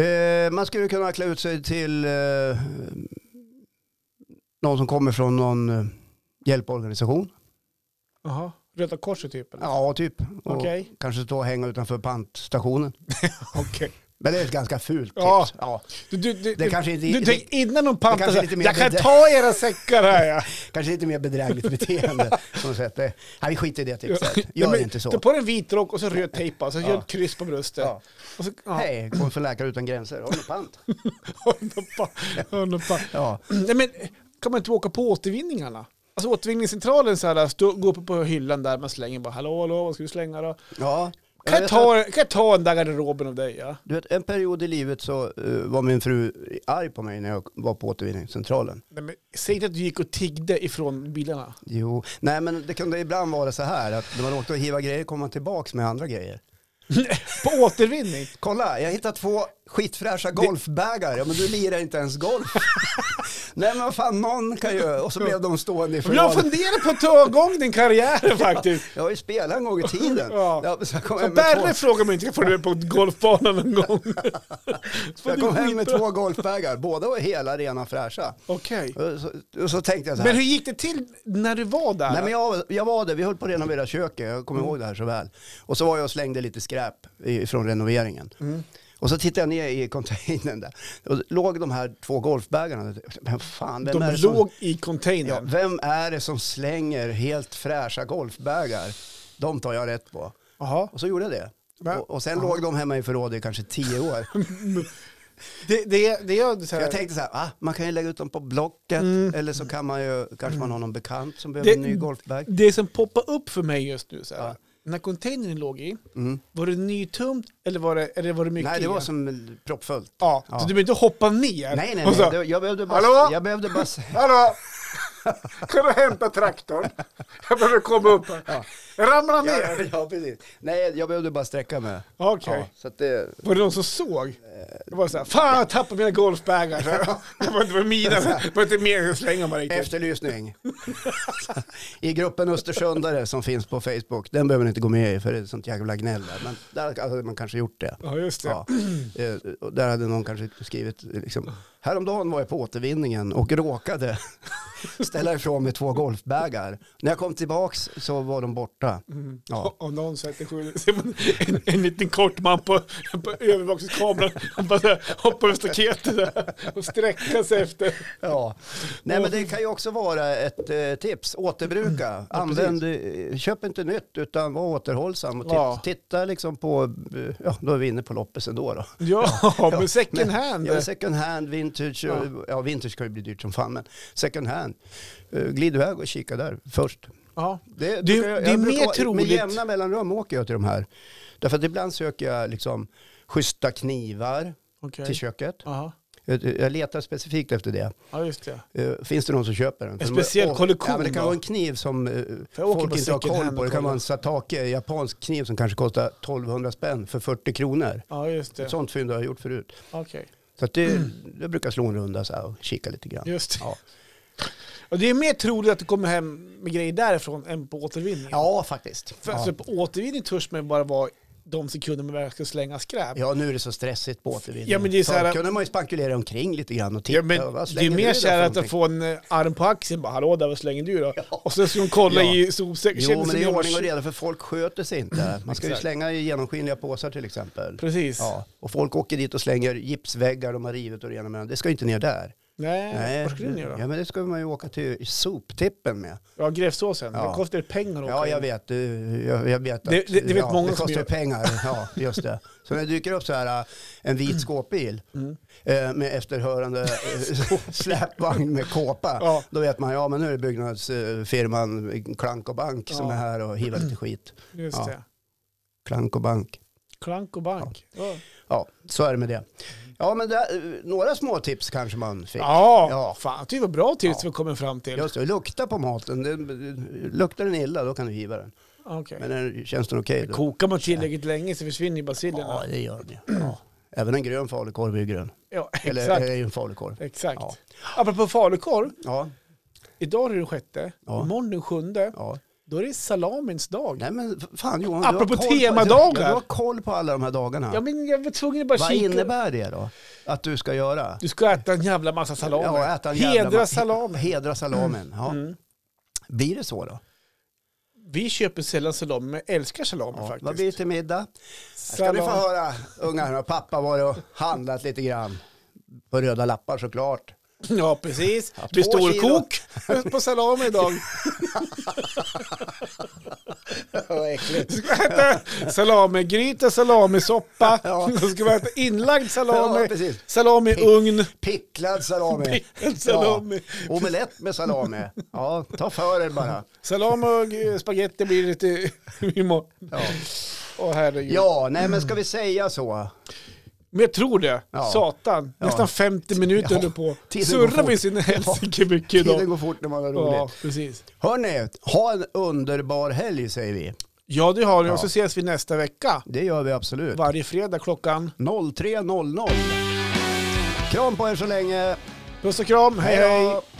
[SPEAKER 1] Eh, man skulle kunna klä ut sig till eh, någon som kommer från någon eh, hjälporganisation.
[SPEAKER 2] Jaha. Röda korset typ? eller?
[SPEAKER 1] Ja, typ. Och
[SPEAKER 2] Okej.
[SPEAKER 1] Kanske stå och hänga utanför pantstationen.
[SPEAKER 2] Okej.
[SPEAKER 1] Men det är ett ganska fult tips.
[SPEAKER 2] Ja.
[SPEAKER 1] Ja.
[SPEAKER 2] Du, du, du,
[SPEAKER 1] Det
[SPEAKER 2] du,
[SPEAKER 1] kanske inte-
[SPEAKER 2] du
[SPEAKER 1] det-
[SPEAKER 2] tänk innan de pantar
[SPEAKER 1] kanske
[SPEAKER 2] så här,
[SPEAKER 1] lite mer
[SPEAKER 2] jag kan
[SPEAKER 1] bedrä-
[SPEAKER 2] ta era säckar
[SPEAKER 1] (laughs)
[SPEAKER 2] här ja.
[SPEAKER 1] Kanske lite mer bedrägligt
[SPEAKER 2] (laughs)
[SPEAKER 1] beteende. som sätt. Det- Nej, vi skiter i det tipset. Gör
[SPEAKER 2] Nej, men
[SPEAKER 1] inte så.
[SPEAKER 2] Ta på dig en vit rock och så röd tejp och så gör ett kryss på bröstet.
[SPEAKER 1] Ja.
[SPEAKER 2] Och så, ja. (laughs)
[SPEAKER 1] Hej, kom för Läkare Utan Gränser. Har du något pant? Ja.
[SPEAKER 2] (clears throat) Nej, men kan man inte åka på återvinningarna? Alltså återvinningscentralen så här, stå, gå upp på hyllan där man slänger bara hallå hallå vad ska du slänga då?
[SPEAKER 1] ja.
[SPEAKER 2] Kan jag,
[SPEAKER 1] vet
[SPEAKER 2] ta, kan jag ta den där garderoben av dig ja?
[SPEAKER 1] Du vet, en period i livet så eh, var min fru arg på mig när jag var på återvinningscentralen.
[SPEAKER 2] Nej, men, säg inte att du gick och tiggde ifrån bilarna.
[SPEAKER 1] Jo, nej men det kunde ibland vara så här att när man åkte och hiva grejer kom man tillbaks med andra grejer.
[SPEAKER 2] På återvinning?
[SPEAKER 1] Kolla, jag hittade två skitfräscha golfbägar. Ja men du lirar inte ens golf. (laughs) Nej men vad fan, någon kan ju... Och så blev de stående i
[SPEAKER 2] Men Jag
[SPEAKER 1] förvaret.
[SPEAKER 2] funderar på att ta igång
[SPEAKER 1] (laughs)
[SPEAKER 2] din karriär faktiskt.
[SPEAKER 1] Jag har ju spelat en gång i tiden.
[SPEAKER 2] Ja.
[SPEAKER 1] men så jag kom
[SPEAKER 2] Så
[SPEAKER 1] hem med två-
[SPEAKER 2] Berre frågade om jag inte kan få det på golfbanan
[SPEAKER 1] (laughs)
[SPEAKER 2] en gång. Så
[SPEAKER 1] Jag
[SPEAKER 2] det
[SPEAKER 1] kom
[SPEAKER 2] är
[SPEAKER 1] hem med
[SPEAKER 2] skitbra.
[SPEAKER 1] två golfbägar, båda var hela rena fräscha.
[SPEAKER 2] Okej.
[SPEAKER 1] Och så, och så tänkte jag så här.
[SPEAKER 2] Men hur gick det till när du var där?
[SPEAKER 1] Nej, men jag, jag var där, vi höll på att renovera köket, jag
[SPEAKER 2] Mm.
[SPEAKER 1] kommer ihåg det här så väl. Och så var jag och slängde lite skräp i- från renoveringen.
[SPEAKER 2] Mm.
[SPEAKER 1] Och så tittade jag ner i containern där. Och låg de här två golfbägarna. Men fan, vem, är
[SPEAKER 2] De
[SPEAKER 1] det som,
[SPEAKER 2] låg i
[SPEAKER 1] ja,
[SPEAKER 2] containern.
[SPEAKER 1] vem är det som slänger helt fräscha golfbägar? De tar jag rätt på.
[SPEAKER 2] Jaha.
[SPEAKER 1] Och så gjorde jag det.
[SPEAKER 2] Men-
[SPEAKER 1] Och, och sen låg de hemma i förrådet i kanske tio
[SPEAKER 2] (laughs)
[SPEAKER 1] år.
[SPEAKER 2] Det, det, det är så här,
[SPEAKER 1] Jag tänkte så här, ah, man kan ju lägga ut dem på Blocket eller så kan man ju, kanske man har någon bekant som behöver
[SPEAKER 2] Mm. Det-
[SPEAKER 1] en ny golfbag.
[SPEAKER 2] det som poppar upp för mig just nu, så här,
[SPEAKER 1] Ja.
[SPEAKER 2] när containern låg i,
[SPEAKER 1] Mm.
[SPEAKER 2] var det nytömt eller var det, eller var det mycket
[SPEAKER 1] Nej, det
[SPEAKER 2] i
[SPEAKER 1] var
[SPEAKER 2] den?
[SPEAKER 1] som proppfullt.
[SPEAKER 2] Ja,
[SPEAKER 1] Ja.
[SPEAKER 2] så du behöver inte hoppa
[SPEAKER 1] Nej,
[SPEAKER 2] ner?
[SPEAKER 1] nej,
[SPEAKER 2] Och
[SPEAKER 1] nej.
[SPEAKER 2] så-
[SPEAKER 1] Det- Jag behövde bara,
[SPEAKER 2] Hallå?
[SPEAKER 1] jag behövde bara säga.
[SPEAKER 2] Hallå! Kan du hämta traktorn? Jag behöver komma upp här. Jag ramlar
[SPEAKER 1] Ja,
[SPEAKER 2] ner.
[SPEAKER 1] ja, precis. Nej, jag behövde bara sträcka mig.
[SPEAKER 2] Okej.
[SPEAKER 1] Ja, så att det,
[SPEAKER 2] Var det någon som såg? Det var så här, fan jag tappade mina (laughs) golfbagar. Så här, Det var inte mina, det var inte mer att slänga mig riktigt.
[SPEAKER 1] efterlysning. (laughs) I gruppen Östersundare som finns på Facebook. Den behöver ni inte gå med i för det är sånt jävla gnäll där. Men där hade man kanske gjort det.
[SPEAKER 2] Ja, just det.
[SPEAKER 1] Ja. Eh, och där hade någon kanske skrivit, eh, liksom, häromdagen var jag på återvinningen och råkade (laughs) ställa ifrån mig två golfbägar. När jag kom tillbaks så var de borta.
[SPEAKER 2] Mm.
[SPEAKER 1] Ja.
[SPEAKER 2] Om någon sätter skyldig, ser man en, en liten kort man på, på övervakningskameran. Han bara så här, hoppar över staketet så här och sträcker sig efter.
[SPEAKER 1] Ja. Nej, men det kan ju också vara ett eh, tips. Återbruka. Använd, eh, köp inte nytt utan var återhållsam. Och titt,
[SPEAKER 2] Ja.
[SPEAKER 1] Titta liksom på, eh, ja då är vi inne på loppis ändå då.
[SPEAKER 2] Ja, men
[SPEAKER 1] men-
[SPEAKER 2] second hand.
[SPEAKER 1] Ja, men second hand, vintage, ja. ja vintage kan ju bli dyrt som fan men second hand. Eh, Glid iväg och kika där först.
[SPEAKER 2] Ja.
[SPEAKER 1] Det,
[SPEAKER 2] Det-
[SPEAKER 1] brukar jag-
[SPEAKER 2] det är
[SPEAKER 1] jag brukar
[SPEAKER 2] mer
[SPEAKER 1] vara-
[SPEAKER 2] troligt-
[SPEAKER 1] Med jämna mellanrum åker jag till de här. Därför att ibland söker jag liksom schyssta knivar
[SPEAKER 2] Okej.
[SPEAKER 1] till köket.
[SPEAKER 2] Aha.
[SPEAKER 1] Jag, jag letar specifikt efter det.
[SPEAKER 2] Ja, just det.
[SPEAKER 1] Eh, finns det någon som köper den? För de-
[SPEAKER 2] speciell
[SPEAKER 1] och-
[SPEAKER 2] kollektion
[SPEAKER 1] Ja, men det kan
[SPEAKER 2] då?
[SPEAKER 1] vara en kniv som eh,
[SPEAKER 2] jag åker
[SPEAKER 1] folk
[SPEAKER 2] på
[SPEAKER 1] inte har
[SPEAKER 2] second hand
[SPEAKER 1] koll på.
[SPEAKER 2] och
[SPEAKER 1] Det
[SPEAKER 2] kollar.
[SPEAKER 1] kan vara en satake, japansk kniv som kanske kostar 1200 spänn för 40 kronor.
[SPEAKER 2] Ja, just det.
[SPEAKER 1] Ett sånt fynd har jag gjort förut.
[SPEAKER 2] Okej.
[SPEAKER 1] Så att det,
[SPEAKER 2] (clears throat)
[SPEAKER 1] jag brukar slå en runda så här och kika lite grann.
[SPEAKER 2] Just det.
[SPEAKER 1] Ja.
[SPEAKER 2] Och det är mer troligt att du kommer hem med grejer därifrån än på återvinningen.
[SPEAKER 1] ja, faktiskt.
[SPEAKER 2] För
[SPEAKER 1] Ja.
[SPEAKER 2] alltså, på återvinning törs man ju bara vara de sekunder man verkligen ska slänga skräp.
[SPEAKER 1] ja, nu är det så stressigt på återvinning.
[SPEAKER 2] Ja, men det är så här-
[SPEAKER 1] Förr kunde man ju spankulera omkring lite grann och titta.
[SPEAKER 2] Ja, men
[SPEAKER 1] vad
[SPEAKER 2] det är
[SPEAKER 1] slänger du
[SPEAKER 2] mer
[SPEAKER 1] där
[SPEAKER 2] så
[SPEAKER 1] för
[SPEAKER 2] här att
[SPEAKER 1] någonting?
[SPEAKER 2] få en eh, arm på axeln bara hallå där, vad slänger du då? Och sen ska de kolla
[SPEAKER 1] Ja.
[SPEAKER 2] i sopsäcken.
[SPEAKER 1] Jo,
[SPEAKER 2] Känner
[SPEAKER 1] men
[SPEAKER 2] sig
[SPEAKER 1] det är
[SPEAKER 2] mer-
[SPEAKER 1] ordning och reda för folk sköter sig inte. Man ska ju
[SPEAKER 2] Exakt.
[SPEAKER 1] slänga i genomskinliga påsar till exempel.
[SPEAKER 2] Precis.
[SPEAKER 1] Ja, och folk åker dit och slänger gipsväggar de har rivit och det ena med det andra. Det ska ju inte ner där.
[SPEAKER 2] Nej,
[SPEAKER 1] Nej.
[SPEAKER 2] Eh, vad skulle ni göra?
[SPEAKER 1] Ja, men det ska man ju åka till soptippen med.
[SPEAKER 2] Ja, Gräfsåsen.
[SPEAKER 1] Ja.
[SPEAKER 2] Det kostar ju pengar att
[SPEAKER 1] Ja,
[SPEAKER 2] åka
[SPEAKER 1] jag
[SPEAKER 2] in.
[SPEAKER 1] vet. eh, Jag, jag vet att,
[SPEAKER 2] Det- det- det vet
[SPEAKER 1] ja,
[SPEAKER 2] många
[SPEAKER 1] det
[SPEAKER 2] som
[SPEAKER 1] kostar ju
[SPEAKER 2] gör.
[SPEAKER 1] pengar. Ja, just det. Så när det dyker upp så här eh, en vit skåpbil
[SPEAKER 2] Mm.
[SPEAKER 1] eh, med efterhörande eh, (laughs) släpvagn med kåpa,
[SPEAKER 2] Ja.
[SPEAKER 1] då vet man ja men nu är det byggnadsfirman Klank och Bank som
[SPEAKER 2] Ja.
[SPEAKER 1] är här och hivar lite skit.
[SPEAKER 2] Just
[SPEAKER 1] Ja.
[SPEAKER 2] det.
[SPEAKER 1] Klank och Bank.
[SPEAKER 2] Klank och bank. Ja,
[SPEAKER 1] Ja, så är det med det. Ja, men det, eh, några små tips kanske man fick.
[SPEAKER 2] ja.
[SPEAKER 1] Ja.
[SPEAKER 2] fan det var bra tips
[SPEAKER 1] Ja.
[SPEAKER 2] vi kommer fram till.
[SPEAKER 1] Just det, lukta på maten. Den, luktar den illa då kan du hiva den.
[SPEAKER 2] Okej.
[SPEAKER 1] Men är- känns den okej då?
[SPEAKER 2] Kokar man tillräckligt länge så försvinner ju
[SPEAKER 1] Ja,
[SPEAKER 2] bacillerna.
[SPEAKER 1] det gör den ju. ja. Även en grön falukorv är ju grön.
[SPEAKER 2] Ja,
[SPEAKER 1] Eller
[SPEAKER 2] exakt.
[SPEAKER 1] är ju en falukorv.
[SPEAKER 2] Exakt.
[SPEAKER 1] Ja.
[SPEAKER 2] Apropå falukorv,
[SPEAKER 1] Ja,
[SPEAKER 2] idag är det den sjätte,
[SPEAKER 1] Ja.
[SPEAKER 2] imorgon den sjunde,
[SPEAKER 1] ja.
[SPEAKER 2] då är det salamins dag.
[SPEAKER 1] Nej men f- fan Johan,
[SPEAKER 2] Apropå
[SPEAKER 1] du har koll
[SPEAKER 2] temadagar.
[SPEAKER 1] På, ja, du har koll på alla de här dagarna.
[SPEAKER 2] Ja, men jag var tvungen att bara
[SPEAKER 1] Vad
[SPEAKER 2] kika.
[SPEAKER 1] innebär det då? Att du ska göra?
[SPEAKER 2] Du ska äta en jävla massa salami.
[SPEAKER 1] Ja, äta en jävla
[SPEAKER 2] Hedra
[SPEAKER 1] ma-
[SPEAKER 2] salami.
[SPEAKER 1] Hedra salamen, ja.
[SPEAKER 2] Mm.
[SPEAKER 1] Blir det så då?
[SPEAKER 2] Vi köper sällan salami, men jag älskar salami
[SPEAKER 1] Ja.
[SPEAKER 2] faktiskt.
[SPEAKER 1] Vad blir det till middag? Ska
[SPEAKER 2] Salam.
[SPEAKER 1] ni få höra ungar och pappa var och handlat lite grann. På röda lappar
[SPEAKER 2] (laughs)
[SPEAKER 1] såklart.
[SPEAKER 2] (laughs) Ja, precis. Det
[SPEAKER 1] två
[SPEAKER 2] blir storkok (laughs) på salami idag.
[SPEAKER 1] Vad äckligt.
[SPEAKER 2] Du ska äta salamigryta, salamisoppa.
[SPEAKER 1] (laughs) Ja.
[SPEAKER 2] Du ska äta inlagd
[SPEAKER 1] Ja,
[SPEAKER 2] salami,
[SPEAKER 1] precis.
[SPEAKER 2] salami i
[SPEAKER 1] (laughs)
[SPEAKER 2] ugn.
[SPEAKER 1] Picklad salami.
[SPEAKER 2] Picklad salami.
[SPEAKER 1] Ja. Omelett med salami. Ja, ta för er bara.
[SPEAKER 2] Salami och eh, spagetti blir det till imorgon.
[SPEAKER 1] Ja,
[SPEAKER 2] (laughs) Åh herregud.
[SPEAKER 1] ja nej men ska vi säga så?
[SPEAKER 2] Men jag tror det.
[SPEAKER 1] Ja.
[SPEAKER 2] Satan.
[SPEAKER 1] Ja.
[SPEAKER 2] Nästan 50 minuter
[SPEAKER 1] Ja.
[SPEAKER 2] höll på.
[SPEAKER 1] Tiden går
[SPEAKER 2] Surrar
[SPEAKER 1] fort.
[SPEAKER 2] vi sin helsike mycket
[SPEAKER 1] Tiden
[SPEAKER 2] idag.
[SPEAKER 1] går fort när man har
[SPEAKER 2] Ja,
[SPEAKER 1] roligt.
[SPEAKER 2] precis.
[SPEAKER 1] Hörni, ha en underbar helg säger vi.
[SPEAKER 2] Ja, det har vi. Och
[SPEAKER 1] Ja.
[SPEAKER 2] så ses vi nästa vecka.
[SPEAKER 1] Det gör vi absolut.
[SPEAKER 2] Varje fredag klockan.
[SPEAKER 1] 03.00. Kram på er så länge.
[SPEAKER 2] Puss och kram, hej hej!
[SPEAKER 1] då!